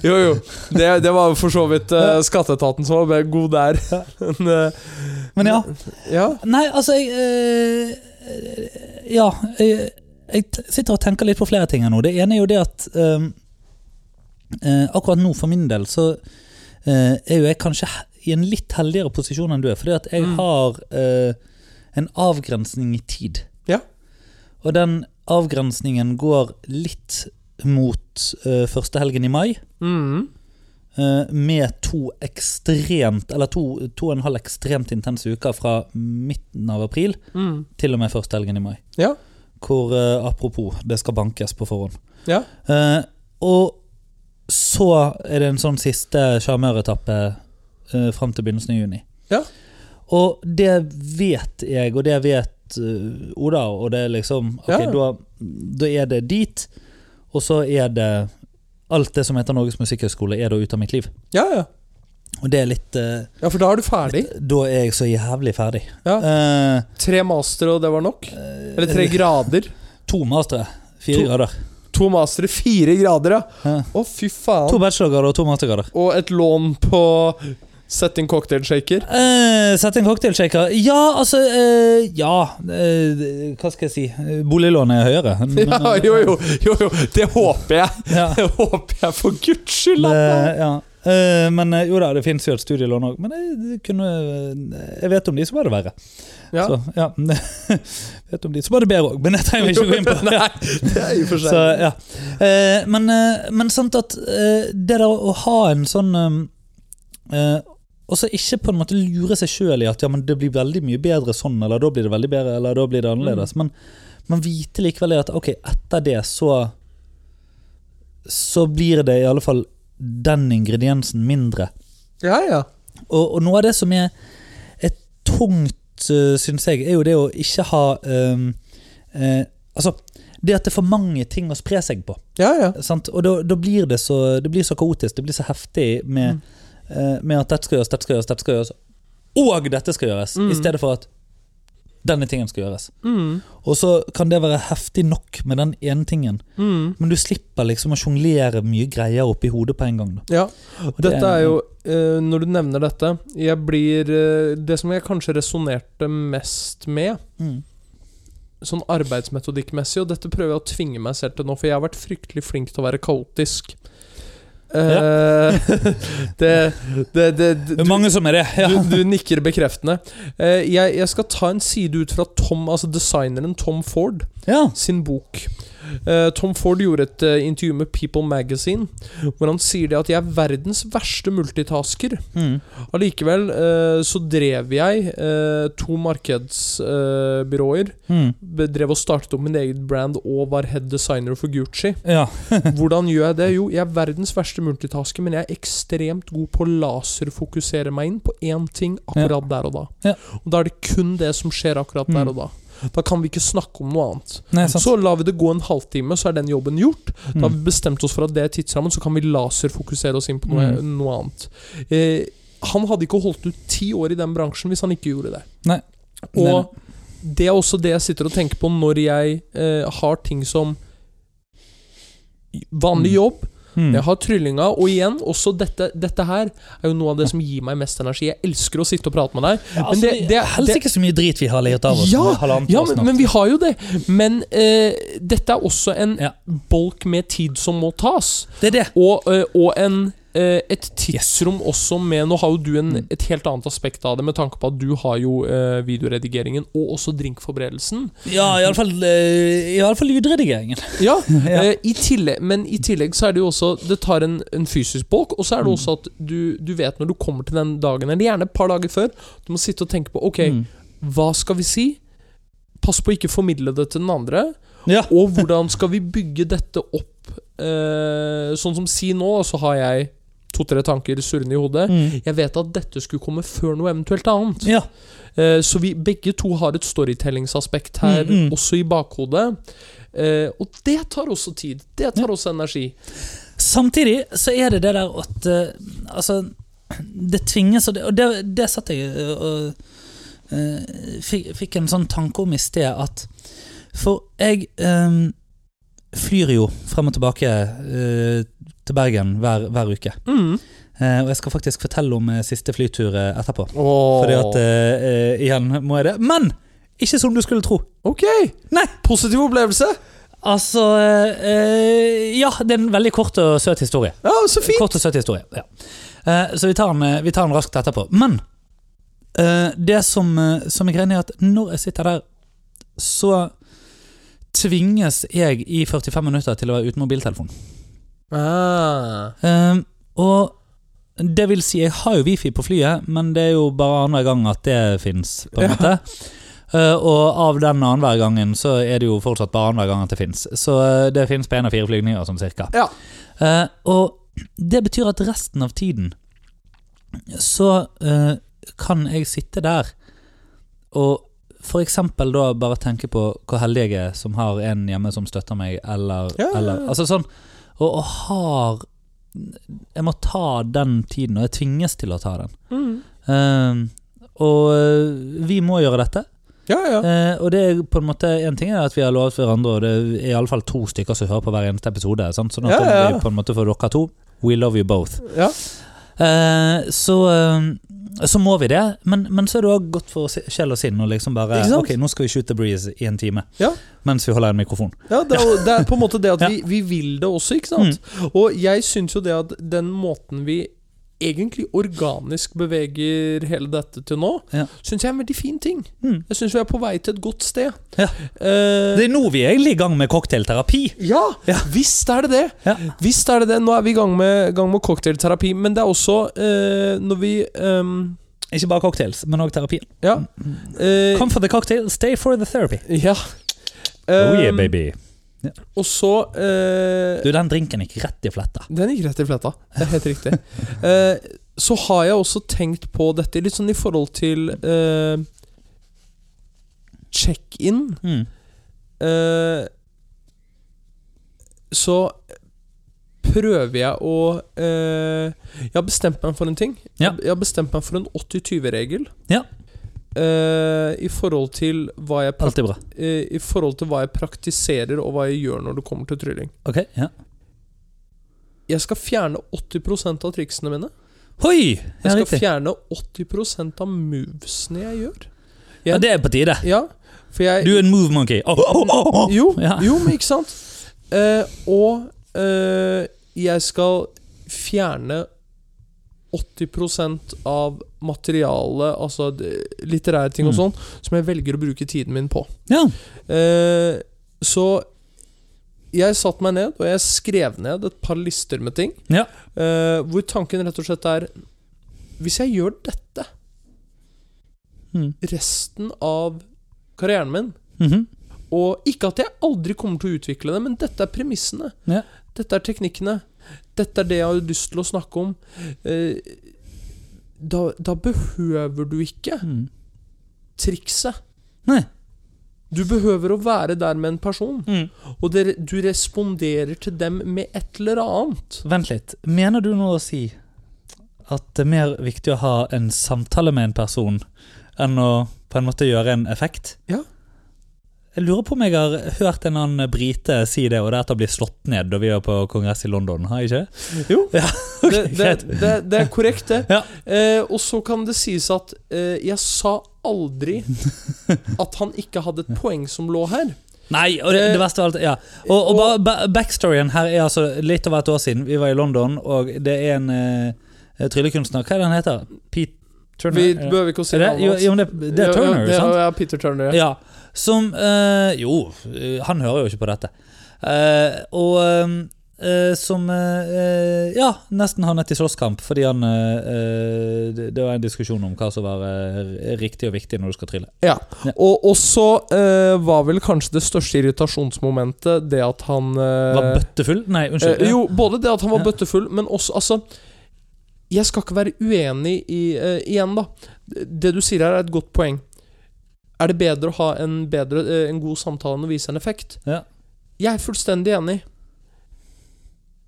Speaker 2: Jo, jo. Det, det var jo for så vidt eh, skatteetaten som var mer god der. Men, eh,
Speaker 1: Men ja.
Speaker 2: ja.
Speaker 1: Nei, altså jeg, eh, Ja, jeg, jeg t- sitter og tenker litt på flere ting her nå. Det ene er jo det at eh, eh, akkurat nå, for min del, så eh, er jo jeg kanskje he- i en litt heldigere posisjon enn du er. Fordi at jeg
Speaker 2: Mm.
Speaker 1: har eh, en avgrensning i tid.
Speaker 2: Ja.
Speaker 1: Og den avgrensningen går litt mot eh, første helgen i mai.
Speaker 2: Mm.
Speaker 1: Eh, med to ekstremt Eller to, to og en halv ekstremt intense uker fra midten av april
Speaker 2: Mm.
Speaker 1: til og med første helgen i mai.
Speaker 2: Ja.
Speaker 1: Hvor, eh, apropos, det skal bankes på forhånd.
Speaker 2: Ja.
Speaker 1: Eh, og så er det en sånn siste sjarmøretappe uh, fram til begynnelsen av juni.
Speaker 2: Ja.
Speaker 1: Og det vet jeg, og det vet eh, Oda, og det er liksom Ok,
Speaker 2: Ja.
Speaker 1: da, da er det dit, og så er det Alt det som heter Norges Musikkhøgskole, er da ut av mitt liv.
Speaker 2: ja, ja.
Speaker 1: Og det er litt eh,
Speaker 2: Ja, for da er du ferdig.
Speaker 1: Da er jeg så jævlig ferdig.
Speaker 2: Ja.
Speaker 1: Eh,
Speaker 2: Tre master, og det var nok? Eller tre grader?
Speaker 1: to mastere. Fire
Speaker 2: To-
Speaker 1: grader.
Speaker 2: to mastere, fire grader, ja.
Speaker 1: Ja.
Speaker 2: Å, fy
Speaker 1: To
Speaker 2: faen.
Speaker 1: bachelorgrader og to mastergrader.
Speaker 2: Og et lån på Sett inn cocktailshaker.
Speaker 1: Uh, sette en cocktailshaker Ja, altså eh, Ja. eh, hva skal jeg si? Eh, Boliglånet er høyere. men,
Speaker 2: Ja,
Speaker 1: eh,
Speaker 2: jo, jo, jo, jo. Det håper jeg.
Speaker 1: ja.
Speaker 2: Det håper jeg, for guds skyld! altså.
Speaker 1: Det,
Speaker 2: Anna.
Speaker 1: ja. Eh, men eh, jo da, det fins jo et studielån òg, men jeg, det kunne, eh, jeg vet om de som var det verre.
Speaker 2: Ja.
Speaker 1: Så, ja. vet om de som var det bedre òg, men det trenger vi ikke gå inn på. Ja.
Speaker 2: Det er i og for
Speaker 1: Så,
Speaker 2: seg
Speaker 1: ja. Eh, men, eh, men sant at eh, det der å ha en sånn eh, eh, Og så ikke på en måte lure seg sjøl i at ja, men det blir veldig mye bedre sånn, eller da blir det veldig bedre, eller da blir det annerledes. Men, men vite likevel det at ok, etter det så Så blir det i alle fall den ingrediensen mindre.
Speaker 2: Ja, ja.
Speaker 1: Og, og noe av det som er, er tungt, uh, syns jeg, er jo det å ikke ha um, eh, Altså, det at det er for mange ting å spre seg på.
Speaker 2: ja, ja.
Speaker 1: Sant? Og da, da blir det så, det blir så kaotisk, det blir så heftig med,
Speaker 2: Mm.
Speaker 1: eh, med at dette skal gjøres, dette skal gjøres, dette skal gjøres, og dette skal gjøres,
Speaker 2: Mm.
Speaker 1: i stedet for at denne tingen skal gjøres.
Speaker 2: Mm.
Speaker 1: Og så kan det være heftig nok med den ene tingen,
Speaker 2: Mm.
Speaker 1: men du slipper liksom å sjonglere mye greier oppi hodet på en gang. Da.
Speaker 2: Ja.
Speaker 1: Og det
Speaker 2: Dette er jo eh, Når du nevner dette Jeg blir eh, Det som jeg kanskje resonnerte mest med,
Speaker 1: mm,
Speaker 2: sånn arbeidsmetodikkmessig, og dette prøver jeg å tvinge meg selv til nå, for jeg har vært fryktelig flink til å være kaotisk. Eh, det, det, det,
Speaker 1: Det
Speaker 2: du-
Speaker 1: er mange som er det. Ja.
Speaker 2: du, du nikker bekreftende. Eh, jeg, jeg skal ta en side ut fra Tom, altså designeren Tom Ford
Speaker 1: ja.
Speaker 2: sin bok. Eh, Tom Ford gjorde et eh, intervju med People Magazine hvor han sier det at 'jeg er verdens verste multitasker'.
Speaker 1: Mm.
Speaker 2: Allikevel eh, så drev jeg eh, to markedsbyråer. eh,
Speaker 1: Mm.
Speaker 2: Drev og startet opp min egen brand og var head designer for Gucci.
Speaker 1: Ja.
Speaker 2: Hvordan gjør jeg det? Jo, jeg er verdens verste multitasker, men jeg er ekstremt god på å laserfokusere meg inn på én ting akkurat der og da.
Speaker 1: Ja.
Speaker 2: Og da er det kun det som skjer akkurat
Speaker 1: Mm.
Speaker 2: der og da. Da kan vi ikke snakke om noe annet.
Speaker 1: Nei, sant.
Speaker 2: Så lar vi det gå en halvtime, så er den jobben gjort. Da har
Speaker 1: Mm.
Speaker 2: vi bestemt oss for at det er tidsrammen, så kan vi laserfokusere oss inn på noe,
Speaker 1: Mm.
Speaker 2: noe annet. Eh, han hadde ikke holdt ut ti år i den bransjen hvis han ikke gjorde det.
Speaker 1: Nei.
Speaker 2: Og det er også det jeg sitter og tenker på når jeg eh, har ting som vanlig
Speaker 1: Mm.
Speaker 2: jobb,
Speaker 1: Mm.
Speaker 2: jeg har tryllinga, og igjen, også dette, dette her er jo noe av det som gir meg mest energi. Jeg elsker å sitte og prate med deg.
Speaker 1: Ja, altså,
Speaker 2: det-
Speaker 1: det,
Speaker 2: det-
Speaker 1: helst
Speaker 2: det-
Speaker 1: ikke så mye drit vi har leiet av oss.
Speaker 2: Ja,
Speaker 1: med halvannet
Speaker 2: Ja,
Speaker 1: år
Speaker 2: men,
Speaker 1: snart.
Speaker 2: men vi har jo det. Men eh, dette er også en
Speaker 1: Ja.
Speaker 2: bolk med tid som må tas.
Speaker 1: det er det.
Speaker 2: Og, eh, og en eh, et tidsrom også med Nå har jo du
Speaker 1: Mm.
Speaker 2: en, et helt annet aspekt av det, med tanke på at du har jo eh, videoredigeringen og også drinkforberedelsen.
Speaker 1: Ja, iallfall eh, lydredigeringen.
Speaker 2: Ja,
Speaker 1: Ja.
Speaker 2: eh, i tillegg, Men i tillegg så er det jo også Det tar en, en fysisk bolk, og så
Speaker 1: Mm.
Speaker 2: er det også at du, du vet når du kommer til den dagen, eller gjerne et par dager før, du må sitte og tenke på Ok,
Speaker 1: Mm.
Speaker 2: hva skal vi si? Pass på å ikke formidle det til den andre.
Speaker 1: Ja.
Speaker 2: Og hvordan skal vi bygge dette opp? Eh, sånn som si nå, så har jeg to-tre tanker surrende i hodet.
Speaker 1: Mm.
Speaker 2: Jeg vet at dette skulle komme før noe eventuelt annet.
Speaker 1: ja.
Speaker 2: Eh, så vi begge to har et storytellingsaspekt her,
Speaker 1: Mm, mm.
Speaker 2: også i bakhodet. Eh, og det tar også tid. Det tar også energi.
Speaker 1: Samtidig så er det det der at eh, Altså, det tvinges Og det, og det, det satt jeg eh, og eh, fikk, fikk en sånn tanke om i sted, at For jeg eh, flyr jo frem og tilbake eh, til Bergen hver, hver uke.
Speaker 2: Mm.
Speaker 1: Eh, og jeg skal faktisk fortelle om eh, siste flytur eh, etterpå.
Speaker 2: Åh.
Speaker 1: Fordi at eh, eh, Igjen må jeg det. Men ikke som du skulle tro.
Speaker 2: Ok!
Speaker 1: Nei.
Speaker 2: Positiv opplevelse!
Speaker 1: Altså eh, Ja, det er en veldig kort og søt historie.
Speaker 2: Ja, så fint!
Speaker 1: Kort og søt historie, ja. Eh, så vi tar, den, eh, vi tar den raskt etterpå. Men eh, det som, eh, som er greia, er at når jeg sitter der, så tvinges jeg i 45 minutter til å være uten mobiltelefon.
Speaker 2: Ah.
Speaker 1: Eh, og det vil si, jeg har jo wifi på flyet, men det er jo bare annenhver gang at det fins, på en
Speaker 2: Ja.
Speaker 1: måte. Eh, og av den annenhver gangen så er det jo fortsatt bare annenhver gang at det fins. Så eh, det fins på én av fire flygninger, sånn cirka.
Speaker 2: Ja.
Speaker 1: Eh, og det betyr at resten av tiden så eh, kan jeg sitte der og for eksempel da bare tenke på hvor heldig jeg er som har en hjemme som støtter meg, eller,
Speaker 2: Ja, ja, ja.
Speaker 1: eller Altså sånn. Og, og har Jeg må ta den tiden, og jeg tvinges til å ta den.
Speaker 2: Mm.
Speaker 1: Eh, og eh, vi må gjøre dette.
Speaker 2: Ja, ja.
Speaker 1: Eh, og det er på en måte en ting er at vi har lovet hverandre, og det er iallfall to stykker som hører på hver eneste episode. Sant? Sånn at
Speaker 2: Ja, ja, ja.
Speaker 1: vi på en måte for dere to We love you both.
Speaker 2: ja.
Speaker 1: Eh, så eh, så må vi det, men, men så er det òg godt for si- sjel og sinn å liksom bare
Speaker 2: Ikke sant?
Speaker 1: Ok, nå skal vi shoot the breeze i en time
Speaker 2: Ja.
Speaker 1: mens vi holder en mikrofon.
Speaker 2: Ja, det er, jo- det er på en måte det at vi, vi vil det også, ikke sant?
Speaker 1: Mm.
Speaker 2: Og jeg syns jo det at den måten vi egentlig organisk beveger hele dette til nå,
Speaker 1: Ja.
Speaker 2: syns jeg er en veldig fin ting.
Speaker 1: Mm.
Speaker 2: Jeg syns vi er på vei til et godt sted.
Speaker 1: Ja.
Speaker 2: Eh,
Speaker 1: Det er nå vi er egentlig i gang med cocktailterapi.
Speaker 2: ja, visst er det det!
Speaker 1: Ja.
Speaker 2: Visst er det det. Nå er vi i gang med, gang med cocktailterapi, men det er også eh, når vi ehm,
Speaker 1: Ikke bare cocktails, men òg terapi.
Speaker 2: Ja. eh,
Speaker 1: Come for the cocktail, stay for the therapy.
Speaker 2: ja.
Speaker 1: Oh yeah,
Speaker 2: Ehm,
Speaker 1: baby.
Speaker 2: Og så eh,
Speaker 1: Du, den drinken gikk rett i fletta.
Speaker 2: Den gikk rett i fletta. Det er helt riktig. Eh, så har jeg også tenkt på dette litt sånn i forhold til eh, check-in.
Speaker 1: Mm.
Speaker 2: Eh, så prøver jeg å eh, Jeg har bestemt meg for en ting.
Speaker 1: Ja.
Speaker 2: Jeg har bestemt meg for en 80-20-regel.
Speaker 1: Ja.
Speaker 2: Eh, I forhold til hva jeg prak
Speaker 1: Alltid bra.
Speaker 2: eh, I forhold til hva jeg praktiserer og hva jeg gjør når det kommer til trylling.
Speaker 1: Ok, ja.
Speaker 2: Jeg skal fjerne 80 av triksene mine.
Speaker 1: Hoi! Ja,
Speaker 2: Jeg skal
Speaker 1: riktig.
Speaker 2: fjerne 80 av movesene jeg gjør.
Speaker 1: Ja, det er på tide.
Speaker 2: Ja, for jeg
Speaker 1: Du er en move monkey. Åh, åh, åh, åh.
Speaker 2: Jo,
Speaker 1: Ja.
Speaker 2: jo men ikke sant? Eh, og eh, jeg skal fjerne 80 av materialet, altså d- litterære ting og
Speaker 1: Mm.
Speaker 2: sånn, som jeg velger å bruke tiden min på.
Speaker 1: Ja.
Speaker 2: Eh, så jeg satte meg ned, og jeg skrev ned et par lister med ting.
Speaker 1: Ja.
Speaker 2: eh, hvor tanken rett og slett er Hvis jeg gjør dette
Speaker 1: Mm.
Speaker 2: resten av karrieren min.
Speaker 1: Mhm.
Speaker 2: Og ikke at jeg aldri kommer til å utvikle det, men dette er premissene.
Speaker 1: Ja.
Speaker 2: Dette er teknikkene. Dette er det jeg har lyst til å snakke om. Eh, Da, da behøver du ikke
Speaker 1: Mm.
Speaker 2: trikset.
Speaker 1: Nei.
Speaker 2: Du behøver å være der med en person,
Speaker 1: Mm.
Speaker 2: og dere, du responderer til dem med et eller annet.
Speaker 1: Vent litt. Mener du nå å si at det er mer viktig å ha en samtale med en person enn å på en måte gjøre en effekt?
Speaker 2: Ja.
Speaker 1: Jeg lurer på om jeg har hørt en annen brite si det, og deretter bli slått ned da vi var på kongress i London, har jeg ikke?
Speaker 2: Jo,
Speaker 1: Ja,
Speaker 2: det,
Speaker 1: greit.
Speaker 2: det, det, det er korrekt, det.
Speaker 1: Ja.
Speaker 2: Eh, og så kan det sies at eh, jeg sa aldri at han ikke hadde et poeng som lå her.
Speaker 1: Nei, og det, det verste av alt ja. Og, og, bare ba- backstoryen her er altså litt over et år siden. Vi var i London, og det er en eh, tryllekunstner Hva er det han heter? Pete Turner?
Speaker 2: Vi
Speaker 1: Er det-
Speaker 2: behøver ikke å si
Speaker 1: er det,
Speaker 2: navnet
Speaker 1: jo,
Speaker 2: hans.
Speaker 1: jo, men det, det er
Speaker 2: Ja,
Speaker 1: Turner,
Speaker 2: ja,
Speaker 1: sant?
Speaker 2: Ja, ja, Peter Turner. Ja.
Speaker 1: Ja. Som eh, Jo, eh, han hører jo ikke på dette. Eh, og eh, eh, som eh, eh, Ja, nesten havnet i slåsskamp fordi han eh, eh, det, det var en diskusjon om hva som var eh, riktig og viktig når du skal trylle.
Speaker 2: Ja.
Speaker 1: Ja.
Speaker 2: Og også eh, var vel kanskje det største irritasjonsmomentet det at han eh,
Speaker 1: Var bøttefull? Nei, unnskyld.
Speaker 2: eh, Jo, både det at han var
Speaker 1: Ja.
Speaker 2: bøttefull, men også Altså, jeg skal ikke være uenig i eh, Igjen, da. Det du sier her, er et godt poeng. Er det bedre å ha en, bedre, eh, en god samtale enn å vise en effekt?
Speaker 1: Ja.
Speaker 2: Jeg er fullstendig enig.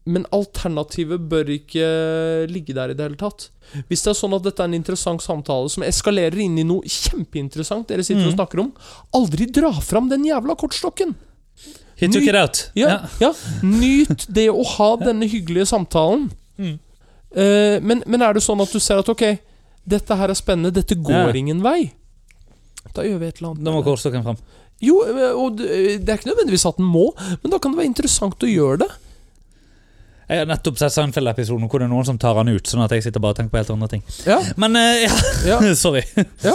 Speaker 2: Men alternativet bør ikke eh, ligge der i det hele tatt. Hvis det er sånn at dette er en interessant samtale som eskalerer inn i noe kjempeinteressant dere sitter og
Speaker 1: Mm.
Speaker 2: snakker om, aldri dra fram den jævla kortstokken!
Speaker 1: He took it out.
Speaker 2: Ja, ja. Nyt det å ha denne hyggelige samtalen.
Speaker 1: Mm.
Speaker 2: Eh, men, men er det sånn at du ser at ok, dette her er spennende, dette går
Speaker 1: Ja.
Speaker 2: ingen vei? Da gjør vi et eller annet.
Speaker 1: Nå må
Speaker 2: med det.
Speaker 1: kortstokken fram.
Speaker 2: Jo, eh, og det det er ikke nødvendigvis at den må, men da kan det være interessant å gjøre det.
Speaker 1: Jeg har nettopp sett Seinfeld-episoden hvor det er noen som tar han ut. Sånn at jeg sitter bare og tenker på helt andre ting.
Speaker 2: Ja,
Speaker 1: Men eh,
Speaker 2: ja,
Speaker 1: ja, sorry.
Speaker 2: ja.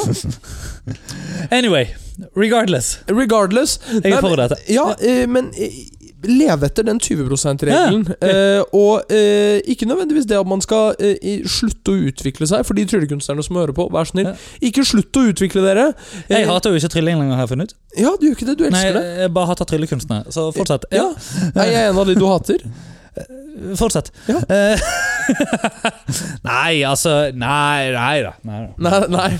Speaker 1: Anyway, regardless.
Speaker 2: Regardless.
Speaker 1: Jeg
Speaker 2: Nei,
Speaker 1: er for dette.
Speaker 2: Ja, eh, men eh, leve etter den 20 %-regelen. Eh, og eh, ikke nødvendigvis det at man skal eh, i- slutte å utvikle seg, for de tryllekunstnerne som hører på, vær snill,
Speaker 1: Ja.
Speaker 2: ikke slutt å utvikle dere. Eh,
Speaker 1: Jeg hater jo ikke trylling lenger, har jeg funnet ut.
Speaker 2: Ja, du gjør ikke det. Du
Speaker 1: Nei,
Speaker 2: elsker det.
Speaker 1: jeg bare hater tryllekunstnere. Så fortsett.
Speaker 2: Ja.
Speaker 1: Ja,
Speaker 2: Nei, jeg er en av de du hater.
Speaker 1: fortsett.
Speaker 2: Ja.
Speaker 1: Eh, nei, altså Nei, nei da. Nei, da.
Speaker 2: Nei, nei.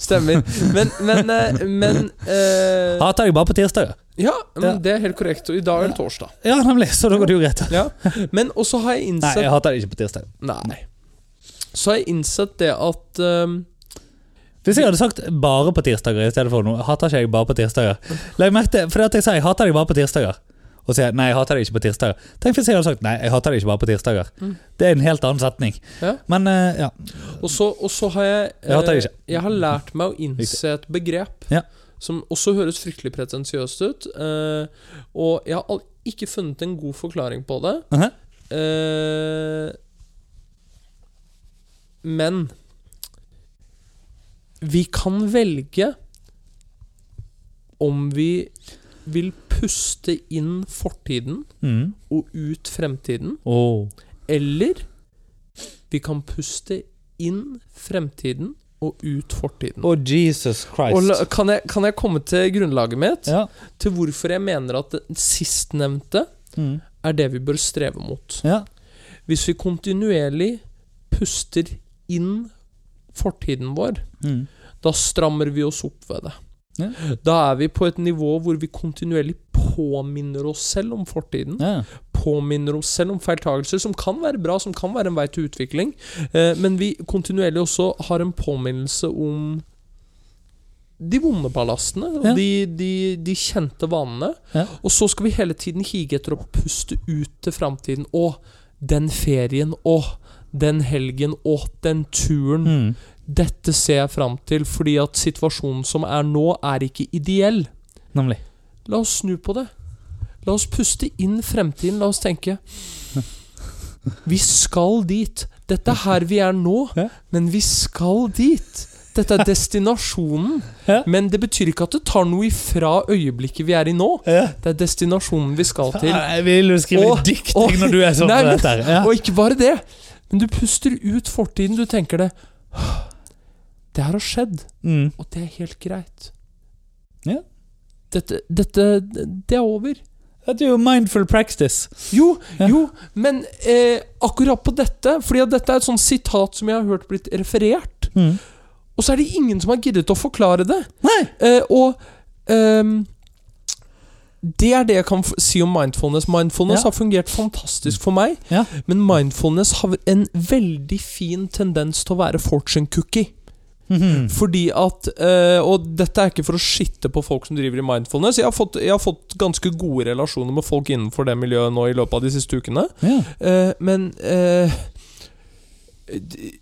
Speaker 2: Stemmer. Men, men, eh, men eh,
Speaker 1: Hater jeg bare på tirsdager.
Speaker 2: Ja,
Speaker 1: Ja.
Speaker 2: men det er helt korrekt. Og i dag er det torsdag.
Speaker 1: Ja, nemlig. Så da går det jo greit.
Speaker 2: Ja. Men også har jeg
Speaker 1: Nei,
Speaker 2: innsett
Speaker 1: jeg hater det ikke på tirsdag.
Speaker 2: Nei. Så har jeg innsett det at ehm,
Speaker 1: Hvis jeg hadde sagt 'bare på tirsdager' i stedet for noe, hater ikke jeg bare på tirsdager. Legg merke til, for det at jeg sa jeg hater deg bare på tirsdager, og så sier jeg nei, jeg hater deg ikke på tirsdager. Tenk hvis jeg hadde sagt 'nei, jeg hater deg ikke bare på tirsdager'.
Speaker 2: Mm.
Speaker 1: Det er en helt annen setning.
Speaker 2: Ja.
Speaker 1: Men eh, ja.
Speaker 2: Og så, og så har jeg eh,
Speaker 1: Jeg hater det ikke.
Speaker 2: jeg har lært meg å innse et begrep
Speaker 1: Ja.
Speaker 2: som også høres fryktelig pretensiøst ut. Eh, og jeg har al- ikke funnet en god forklaring på det.
Speaker 1: Mhm.
Speaker 2: Eh, men vi kan velge om vi vil puste inn fortiden
Speaker 1: Mm.
Speaker 2: og ut fremtiden.
Speaker 1: Åh.
Speaker 2: Eller vi kan puste inn fremtiden og ut fortiden.
Speaker 1: Åh, Jesus Christ.
Speaker 2: Og la, kan, jeg, kan jeg komme til grunnlaget mitt?
Speaker 1: ja.
Speaker 2: Til hvorfor jeg mener at det sistnevnte
Speaker 1: Mm.
Speaker 2: er det vi bør streve mot.
Speaker 1: ja.
Speaker 2: Hvis vi kontinuerlig puster inn fortiden vår,
Speaker 1: Mm.
Speaker 2: da strammer vi oss opp ved det.
Speaker 1: Ja.
Speaker 2: Da er vi på et nivå hvor vi kontinuerlig påminner oss selv om fortiden.
Speaker 1: ja.
Speaker 2: påminner oss selv om feiltagelser, som kan være bra, som kan være en vei til utvikling, eh, men vi kontinuerlig også har en påminnelse om de vonde ballastene, og
Speaker 1: Ja.
Speaker 2: de, de, de kjente vanene.
Speaker 1: Ja.
Speaker 2: Og så skal vi hele tiden hige etter å puste ut til framtiden. Å, den ferien. Å, den helgen. Å, den turen.
Speaker 1: Mm.
Speaker 2: Dette ser jeg fram til, fordi at situasjonen som er nå, er ikke ideell.
Speaker 1: Nemlig.
Speaker 2: La oss snu på det. La oss puste inn fremtiden. La oss tenke Vi skal dit. Dette er her vi er nå,
Speaker 1: Ja.
Speaker 2: men vi skal dit. Dette er destinasjonen.
Speaker 1: Ja.
Speaker 2: Men det betyr ikke at det tar noe ifra øyeblikket vi er i nå.
Speaker 1: Ja.
Speaker 2: Det er destinasjonen vi skal til.
Speaker 1: Ah, Jeg vil jo skrive
Speaker 2: Åh,
Speaker 1: dikt
Speaker 2: åh,
Speaker 1: når du er sånn
Speaker 2: nei,
Speaker 1: på
Speaker 2: men-
Speaker 1: dette her. Ja.
Speaker 2: Og ikke bare det, men du puster ut fortiden. Du tenker det Det her har skjedd,
Speaker 1: Mm.
Speaker 2: og det er helt greit.
Speaker 1: Ja.
Speaker 2: Dette, dette Det er over.
Speaker 1: Dette er jo mindful practice.
Speaker 2: Jo,
Speaker 1: Ja.
Speaker 2: jo, men eh, akkurat på dette Fordi at dette er et sånt sitat som jeg har hørt blitt referert.
Speaker 1: Mm.
Speaker 2: Og så er det ingen som har giddet å forklare det.
Speaker 1: Nei!
Speaker 2: Eh, og ehm, det er det jeg kan f- si om mindfulness. Mindfulness
Speaker 1: Ja.
Speaker 2: har fungert fantastisk for meg.
Speaker 1: Ja.
Speaker 2: Men mindfulness har en veldig fin tendens til å være fortune cookie.
Speaker 1: Mhm.
Speaker 2: Fordi at eh, Og dette er ikke for å skitte på folk som driver i mindfulness. Jeg har fått, jeg har fått ganske gode relasjoner med folk innenfor det miljøet nå i løpet av de siste ukene.
Speaker 1: Ja.
Speaker 2: Eh, men eh, d-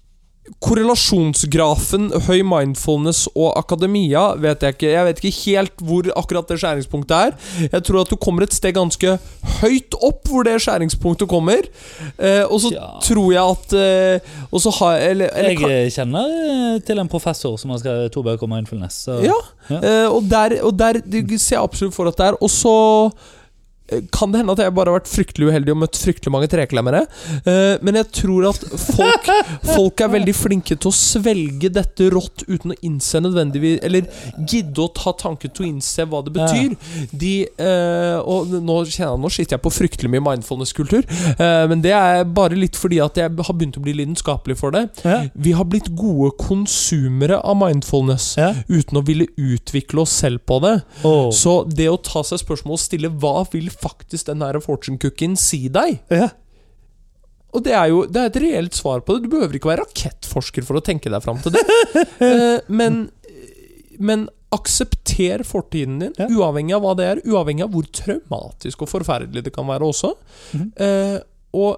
Speaker 2: Korrelasjonsgrafen høy mindfulness og akademia vet jeg ikke. Jeg vet ikke helt hvor akkurat det skjæringspunktet er. Jeg tror at du kommer et sted ganske høyt opp hvor det skjæringspunktet kommer. Eh, og så
Speaker 1: Ja.
Speaker 2: tror jeg at eh, Og så har Eller, eller
Speaker 1: Jeg eh, kjenner eh, til en professor som har skrevet to bøker om mindfulness. Så.
Speaker 2: Ja,
Speaker 1: Ja.
Speaker 2: eh, og der, og der det ser jeg absolutt for at det er. Og så eh, kan det hende at jeg bare har vært fryktelig uheldig og møtt fryktelig mange treklemmere. Eh, men jeg tror at folk, folk er veldig flinke til å svelge dette rått uten å innse nødvendigvis Eller gidde å ta tanken til å innse hva det betyr. De eh, Og nå kjenner jeg nå sitter jeg på fryktelig mye mindfulness-kultur, eh, men det er bare litt fordi at jeg har begynt å bli lidenskapelig for det.
Speaker 1: Ja.
Speaker 2: Vi har blitt gode konsumere av mindfulness
Speaker 1: Ja.
Speaker 2: uten å ville utvikle oss selv på det.
Speaker 1: Åh.
Speaker 2: Så det å ta seg spørsmål og stille hva vil faktisk den her fortune cookien si deg?
Speaker 1: Ja.
Speaker 2: Og det er jo det er et reelt svar på det. Du behøver ikke være rakettforsker for å tenke deg fram til det. Eh, men, men aksepter fortiden din,
Speaker 1: Ja.
Speaker 2: uavhengig av hva det er, uavhengig av hvor traumatisk og forferdelig det kan være også.
Speaker 1: Mhm.
Speaker 2: Eh, og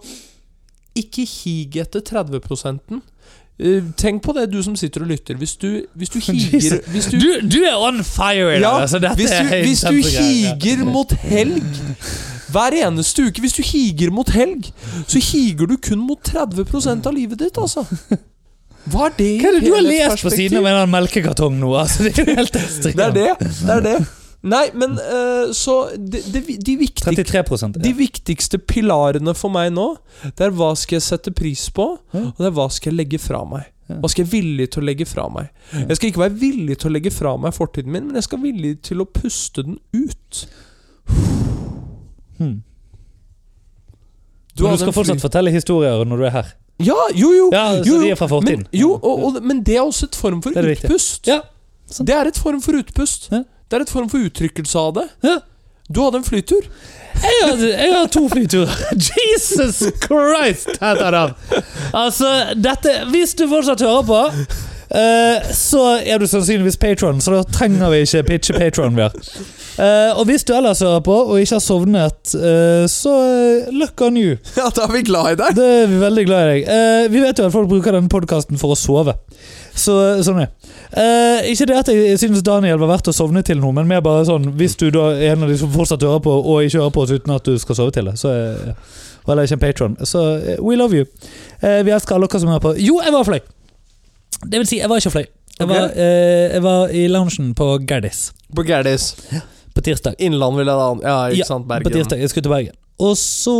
Speaker 2: ikke hig etter 30 Eh, Tenk på det, du som sitter og lytter. Hvis du, hvis du higer
Speaker 1: Jesus.
Speaker 2: hvis
Speaker 1: Du, du er on fire i dag! altså, dette
Speaker 2: hvis
Speaker 1: er
Speaker 2: du,
Speaker 1: helt
Speaker 2: hvis du
Speaker 1: intense greier.
Speaker 2: higer mot helg hver eneste uke Hvis du higer mot helg, så higer du kun mot 30 av livet ditt, altså. Hva er det i
Speaker 1: Hva er det du har lest på
Speaker 2: helhetsperspektiv?
Speaker 1: siden av en eller annen melkekartong nå? Altså, det er jo helt ekstremt.
Speaker 2: Det er det. det, er det. Nei, men eh, så de, de, de, viktig,
Speaker 1: 33
Speaker 2: de viktigste pilarene for meg nå, det er hva skal jeg sette pris på,
Speaker 1: Ja.
Speaker 2: og det er hva skal jeg legge fra meg.
Speaker 1: Ja.
Speaker 2: Hva skal jeg villig til å legge fra meg?
Speaker 1: Ja.
Speaker 2: Jeg skal ikke være villig til å legge fra meg fortiden min, men jeg skal villig til å puste den ut.
Speaker 1: Hmm. Men du skal
Speaker 2: hadde en fly-
Speaker 1: fortsatt fortelle historier når du er her.
Speaker 2: Ja, jo, jo!
Speaker 1: Ja,
Speaker 2: jo,
Speaker 1: Så
Speaker 2: jo.
Speaker 1: de er fra
Speaker 2: men,
Speaker 1: fortiden.
Speaker 2: jo og, og, men det er også et form for
Speaker 1: Det er det viktige.
Speaker 2: utpust.
Speaker 1: Ja, sant.
Speaker 2: Det er et form for utpust.
Speaker 1: Ja.
Speaker 2: Det er et form for uttrykkelse av det.
Speaker 1: Ja.
Speaker 2: Du hadde en flytur.
Speaker 1: Jeg har, jeg har to flyturer. Jesus Christ, heter den. Altså, dette Hvis du fortsatt hører på Eh, så er du sannsynligvis patron, så da trenger vi ikke pitche patron mer. Eh, og hvis du ellers hører på og ikke har sovnet, eh, så eh, luck on you.
Speaker 2: Ja, da er vi glad i deg!
Speaker 1: Det er vi veldig glad i deg. Eh, vi vet jo at folk bruker denne podkasten for å sove. Så sånn er det. Eh, Ikke det at jeg synes Daniel var verdt å sovne til noe, men mer bare sånn hvis du da er en av de som fortsatt hører på, og ikke hører på oss uten at du skal sove til det, så eh, ja. Og heller ikke en patron. Så eh, we love you. Eh, vi elsker alle dere som hører på. Jo, jeg var fløy! Det vil si, jeg var ikke fløy. Jeg var,
Speaker 2: Ok.
Speaker 1: eh, jeg var i loungen på Gerdis
Speaker 2: På Gerdis.
Speaker 1: på tirsdag.
Speaker 2: Innland vil jeg da an- Ja, ikke
Speaker 1: Ja,
Speaker 2: sant?
Speaker 1: På
Speaker 2: Bergen.
Speaker 1: tirsdag, Jeg skulle til Bergen. Og så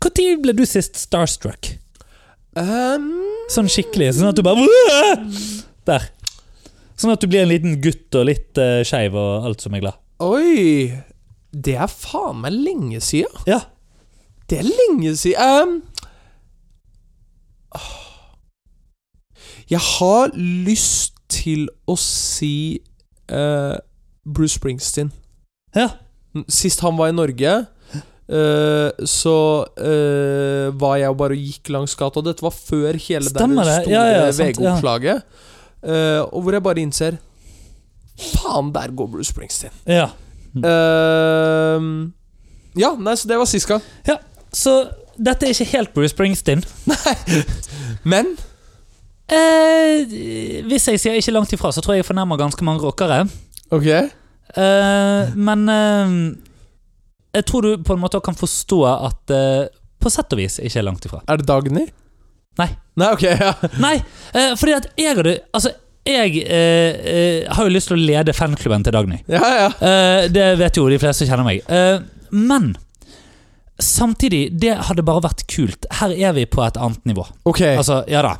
Speaker 1: Når ble du sist starstruck?
Speaker 2: Ehm,
Speaker 1: Sånn skikkelig, sånn at du bare «Wah!» Der. Sånn at du blir en liten gutt og litt uh, skeiv og alt som er glad.
Speaker 2: oi Det er faen meg lenge siden.
Speaker 1: Ja.
Speaker 2: Det er lenge siden Ehm, åh. Jeg har lyst til å si eh, Bruce Springsteen.
Speaker 1: Ja.
Speaker 2: Sist han var i Norge, eh, så eh, var jeg jo bare og gikk langs gata. Og dette var før hele det
Speaker 1: Stemmer
Speaker 2: der
Speaker 1: det.
Speaker 2: store
Speaker 1: Ja, ja, sant, ja.
Speaker 2: VG-oppslaget. Eh, og hvor jeg bare innser Faen, der går Bruce Springsteen.
Speaker 1: ja.
Speaker 2: Eh, ja, nei, så det var sist gang.
Speaker 1: Så dette er ikke helt Bruce Springsteen.
Speaker 2: Men
Speaker 1: Eh, hvis jeg sier ikke langt ifra, så tror jeg jeg fornærmer ganske mange rockere.
Speaker 2: Ok
Speaker 1: Eh, men eh, jeg tror du på en måte kan forstå at eh, på sett og vis ikke er langt ifra.
Speaker 2: Er det Dagny?
Speaker 1: Nei.
Speaker 2: Nei, ok, ja.
Speaker 1: Nei, eh, fordi at jeg hadde Altså, jeg eh, eh, har jo lyst til å lede fanklubben til Dagny.
Speaker 2: Ja, ja.
Speaker 1: Eh, det vet jo de fleste som kjenner meg. Eh, men samtidig, det hadde bare vært kult. Her er vi på et annet nivå.
Speaker 2: Ok,
Speaker 1: Altså, ja da.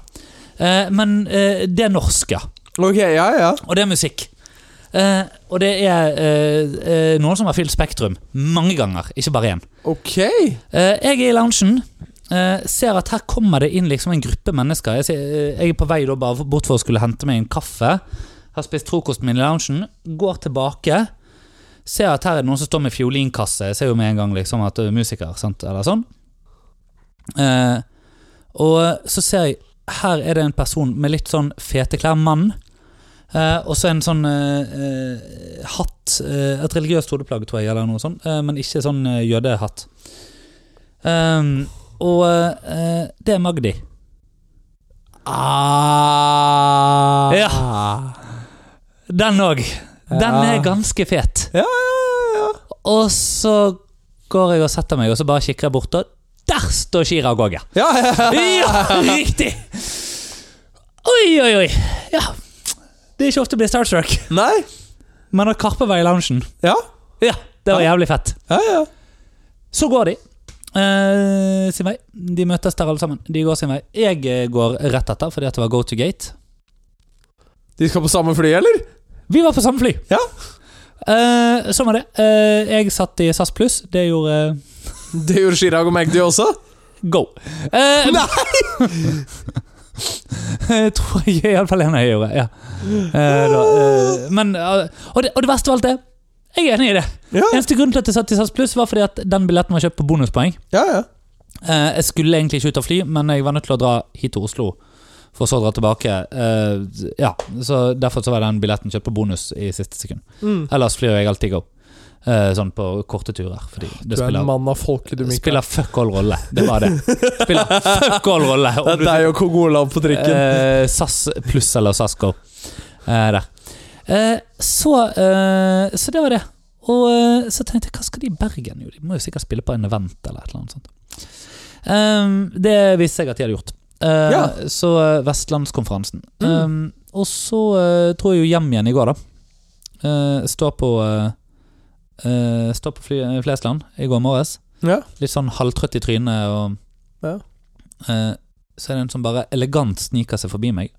Speaker 1: Eh, men eh, det er norsk, ja.
Speaker 2: ok, ja, ja.
Speaker 1: Og det er musikk. Eh, og det er eh, eh, noen som har fylt Spektrum mange ganger, ikke bare én.
Speaker 2: Ok.
Speaker 1: Eh, jeg er i loungen. eh, ser at her kommer det inn liksom en gruppe mennesker. Jeg, ser, eh, jeg er på vei da bare bort for å skulle hente meg en kaffe. Har spist frokosten min i loungen. Går tilbake. Ser at her er det noen som står med fiolinkasse. Jeg ser jo med en gang liksom at du er musiker, sant? eller sånn. Eh, og så ser jeg her er det en person med litt sånn fete klær, mann. Eh, og så en sånn eh, eh, hatt, eh, et religiøst hodeplagg, tror jeg, eller noe sånt, eh, men ikke sånn eh, jødehatt. Ehm, og eh, det er Magdi.
Speaker 2: Ah.
Speaker 1: Ja.
Speaker 2: Ja,
Speaker 1: Den òg. Den
Speaker 2: Ja.
Speaker 1: er ganske fet.
Speaker 2: ja, ja.
Speaker 1: Og så går jeg og setter meg, og så bare kikker jeg bort, og der står Shira Goge.
Speaker 2: Ja, ja, ja.
Speaker 1: Ja, riktig! Oi, oi, oi. Ja. Det er ikke ofte jeg blir starstruck,
Speaker 2: Nei.
Speaker 1: men da Karpe var i loungen
Speaker 2: Ja,
Speaker 1: Ja, det var jævlig fett.
Speaker 2: ja, ja.
Speaker 1: Så går de eh, sin vei. De møtes der alle sammen. De går sin vei. Jeg eh, går rett etter, fordi at det var go to gate.
Speaker 2: De skal på samme fly, eller?
Speaker 1: Vi var på samme fly.
Speaker 2: Ja.
Speaker 1: Eh, sånn var det. Eh, jeg satt i SAS Pluss. Det gjorde eh,
Speaker 2: Det gjorde Chirag og Magdi også.
Speaker 1: Go. Eh,
Speaker 2: Nei!
Speaker 1: jeg tror jeg iallfall en av jeg gjorde. Ja. Eh, da, eh, men, eh, og, det, og det verste av alt er Jeg er enig i det.
Speaker 2: Ja,
Speaker 1: Eneste grunnen til at jeg satt i SAS Pluss, var fordi at den billetten var kjøpt på bonuspoeng.
Speaker 2: ja. ja.
Speaker 1: Eh, jeg skulle egentlig ikke ut og fly, men jeg var nødt til å dra hit til Oslo. For så å dra tilbake. Eh, ja, så Derfor så var den billetten kjøpt på bonus i siste sekund.
Speaker 2: Mm.
Speaker 1: Ellers flyr jeg alltid go. Eh, sånn på korte turer. Fordi
Speaker 2: Du
Speaker 1: det
Speaker 2: er en
Speaker 1: spiller,
Speaker 2: mann av folket, du, Mikael.
Speaker 1: spiller fuck all rolle. Det var det. Spiller fuck all rolle.
Speaker 2: Det er deg og kong Olav på trikken.
Speaker 1: Eh, SAS pluss eller SAS Go. Eh, der. Eh, så, eh, så det var det. Og eh, så tenkte jeg, hva skal de i Bergen? Jo, de må jo sikkert spille på en event eller et eller annet sånt. Eh, det visste jeg at de hadde gjort. Eh,
Speaker 2: Ja.
Speaker 1: Så eh, Vestlandskonferansen. Eh, og så eh, tror jeg jo hjem igjen i går, da. Eh, står på eh, eh, Står på fly, Flesland i går morges.
Speaker 2: Ja.
Speaker 1: Litt sånn halvtrøtt i trynet og
Speaker 2: Ja.
Speaker 1: Eh, Så er det en som bare elegant sniker seg forbi meg.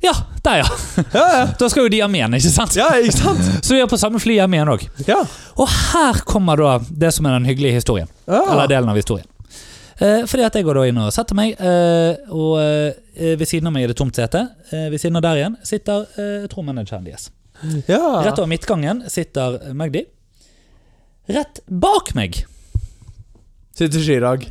Speaker 1: Ja, der ja!
Speaker 2: Ja, ja.
Speaker 1: Da skal jo de hjem igjen, ikke sant?
Speaker 2: ja, ikke sant?
Speaker 1: Så vi er på samme fly hjem igjen òg.
Speaker 2: Ja.
Speaker 1: Og her kommer da det som er den hyggelige historien.
Speaker 2: ja.
Speaker 1: Eller delen av historien. Eh, fordi at jeg går da inn og setter meg, eh, og eh, ved siden av meg er det tomt sete. Eh, ved siden av der igjen sitter eh, jeg tror manageren deres. Rett
Speaker 2: ja.
Speaker 1: over midtgangen sitter Magdi. Rett bak meg,
Speaker 2: Sitter Chirag.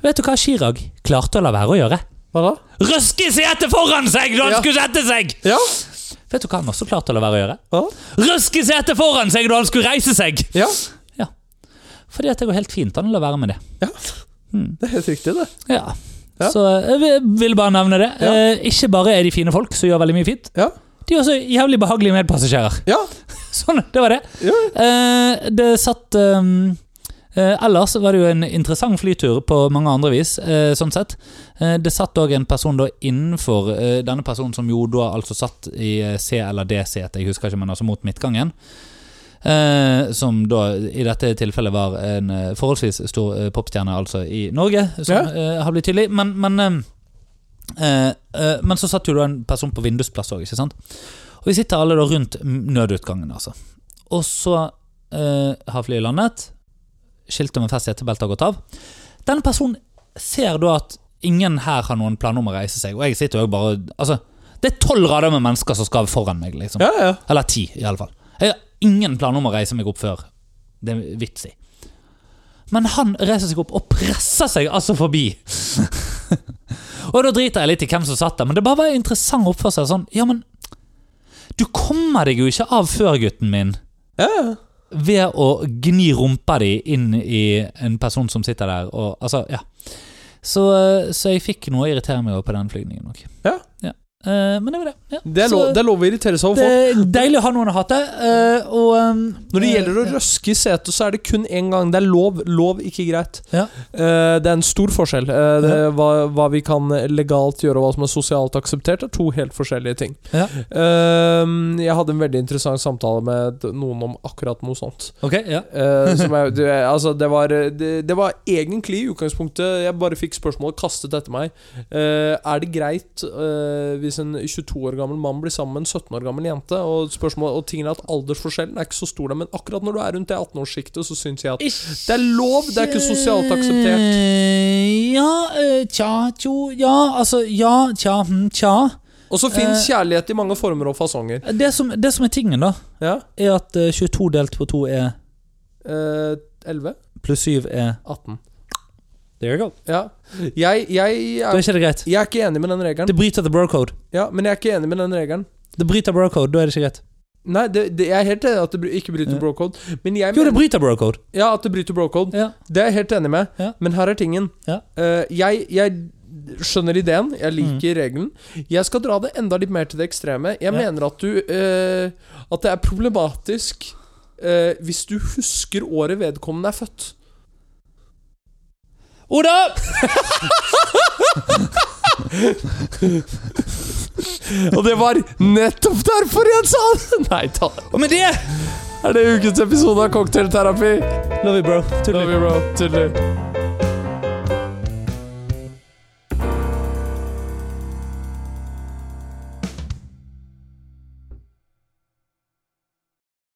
Speaker 1: vet du hva Chirag klarte å la være å gjøre?
Speaker 2: Hva da?
Speaker 1: Røske setet foran seg da han
Speaker 2: Ja.
Speaker 1: skulle sette seg!
Speaker 2: Ja.
Speaker 1: Vet du hva han også klarte å la være å gjøre?
Speaker 2: Ja.
Speaker 1: Røske setet foran seg da han skulle reise seg!
Speaker 2: ja.
Speaker 1: Fordi at det går helt fint an å la være med det.
Speaker 2: Det er helt riktig, det.
Speaker 1: Ja.
Speaker 2: Ja.
Speaker 1: Så jeg vil- vil bare nevne det.
Speaker 2: Ja.
Speaker 1: Eh, ikke bare er de fine folk som gjør veldig mye fint,
Speaker 2: Ja.
Speaker 1: de er også jævlig behagelige medpassasjerer.
Speaker 2: Ja.
Speaker 1: Sånn, det var det.
Speaker 2: ja.
Speaker 1: Eh, det satt ehm, eh, Ellers var det jo en interessant flytur på mange andre vis, eh, sånn sett. Eh, det satt òg en person da innenfor eh, denne personen som jo da altså satt i eh, C eller D-setet, jeg husker ikke, men altså mot midtgangen. Eh, som da i dette tilfellet var en eh, forholdsvis stor eh, popstjerne, altså i Norge, som
Speaker 2: Ja.
Speaker 1: eh, har blitt tydelig. Men, men ehm, Eh, eh, men så satt jo da en person på vindusplass òg, ikke sant. Og vi sitter alle da rundt m- nødutgangen, altså. Og så eh, har flyet landet. Skiltet med fest setebelte har gått av. Denne personen ser da at ingen her har noen planer om å reise seg, og jeg sitter jo bare Altså, det er tolv rader med mennesker som skal foran meg, liksom.
Speaker 2: ja, ja.
Speaker 1: Eller ti, i alle fall. Jeg har ingen planer om å reise meg opp før. Det er vits i. Men han reiser seg opp og presser seg altså forbi. og da driter jeg litt i hvem som satt der, men det bare var en interessant oppførsel. Sånn, ja, men du kommer deg jo ikke av før, gutten min,
Speaker 2: ja, ja.
Speaker 1: ved å gni rumpa di inn i en person som sitter der og Altså, ja. Så, eh, så jeg fikk noe å irritere meg over på den flygningen nok.
Speaker 2: Ja.
Speaker 1: Eh, men det var det. Ja.
Speaker 2: Det, er
Speaker 1: Så-
Speaker 2: lov, det er lov å irritere seg over
Speaker 1: det
Speaker 2: folk.
Speaker 1: er deilig å ha noen å hate. eh, og, eh,
Speaker 2: Når det gjelder å røske i setet, så er det kun én gang. Det er lov, lov, ikke greit.
Speaker 1: Ja.
Speaker 2: Eh, det er en stor forskjell. Eh, det, hva, hva vi kan legalt gjøre, og hva som er sosialt akseptert, er to helt forskjellige ting.
Speaker 1: Ja.
Speaker 2: Eh, jeg hadde en veldig interessant samtale med noen om akkurat noe sånt.
Speaker 1: Ok, ja.
Speaker 2: Eh, som jeg, det, altså, det, var, det, det var egentlig i utgangspunktet Jeg bare fikk spørsmålet kastet etter meg. Eh, er det greit eh, hvis en 22 år gammel mann blir sammen med en 17 år gammel jente? Og, spørsmålet, og tingen er at aldersforskjellen er ikke så stor, der, men akkurat når du er rundt det 18-årssjiktet, så syns jeg at det er lov! Det er ikke sosialt akseptert.
Speaker 1: Eh, Ja, eh, tja, tjo, ja, altså, ja, tja, hm, tja.
Speaker 2: Og så finnes kjærlighet i mange former og fasonger.
Speaker 1: Det som, det som er tingen, da,
Speaker 2: Ja.
Speaker 1: er at eh, 22 delt på 2 er
Speaker 2: Eh, 11?
Speaker 1: pluss 7 er
Speaker 2: 18.
Speaker 1: There you go.
Speaker 2: Ja. Jeg, jeg,
Speaker 1: Da er
Speaker 2: er,
Speaker 1: ikke det greit.
Speaker 2: jeg er ikke enig med den regelen.
Speaker 1: Det bryter the bro code.
Speaker 2: Ja, men jeg er ikke enig med den regelen.
Speaker 1: Det bryter bro code, da er det ikke greit.
Speaker 2: Nei, det, det, jeg er helt enig i at det bry- ikke bryter
Speaker 1: Ja.
Speaker 2: brocode. Men jeg
Speaker 1: Jo, det
Speaker 2: mener,
Speaker 1: bryter bro code.
Speaker 2: ja, at det bryter brocode.
Speaker 1: Ja.
Speaker 2: Det er jeg helt enig med.
Speaker 1: Ja.
Speaker 2: Men her er tingen.
Speaker 1: Ja. Mhm.
Speaker 2: Eh, jeg, jeg skjønner ideen. Jeg liker regelen. Jeg skal dra det enda litt mer til det ekstreme. Jeg
Speaker 1: Ja.
Speaker 2: mener at du eh, At det er problematisk eh, hvis du husker året vedkommende er født.
Speaker 1: Oda!
Speaker 2: Og det var nettopp derfor jeg sa det! Nei, ta
Speaker 1: Og med det
Speaker 2: Er det ukens episode av Cocktailterapi?
Speaker 1: Love you, bro. Tuller.
Speaker 2: Love you, bro. Tuller.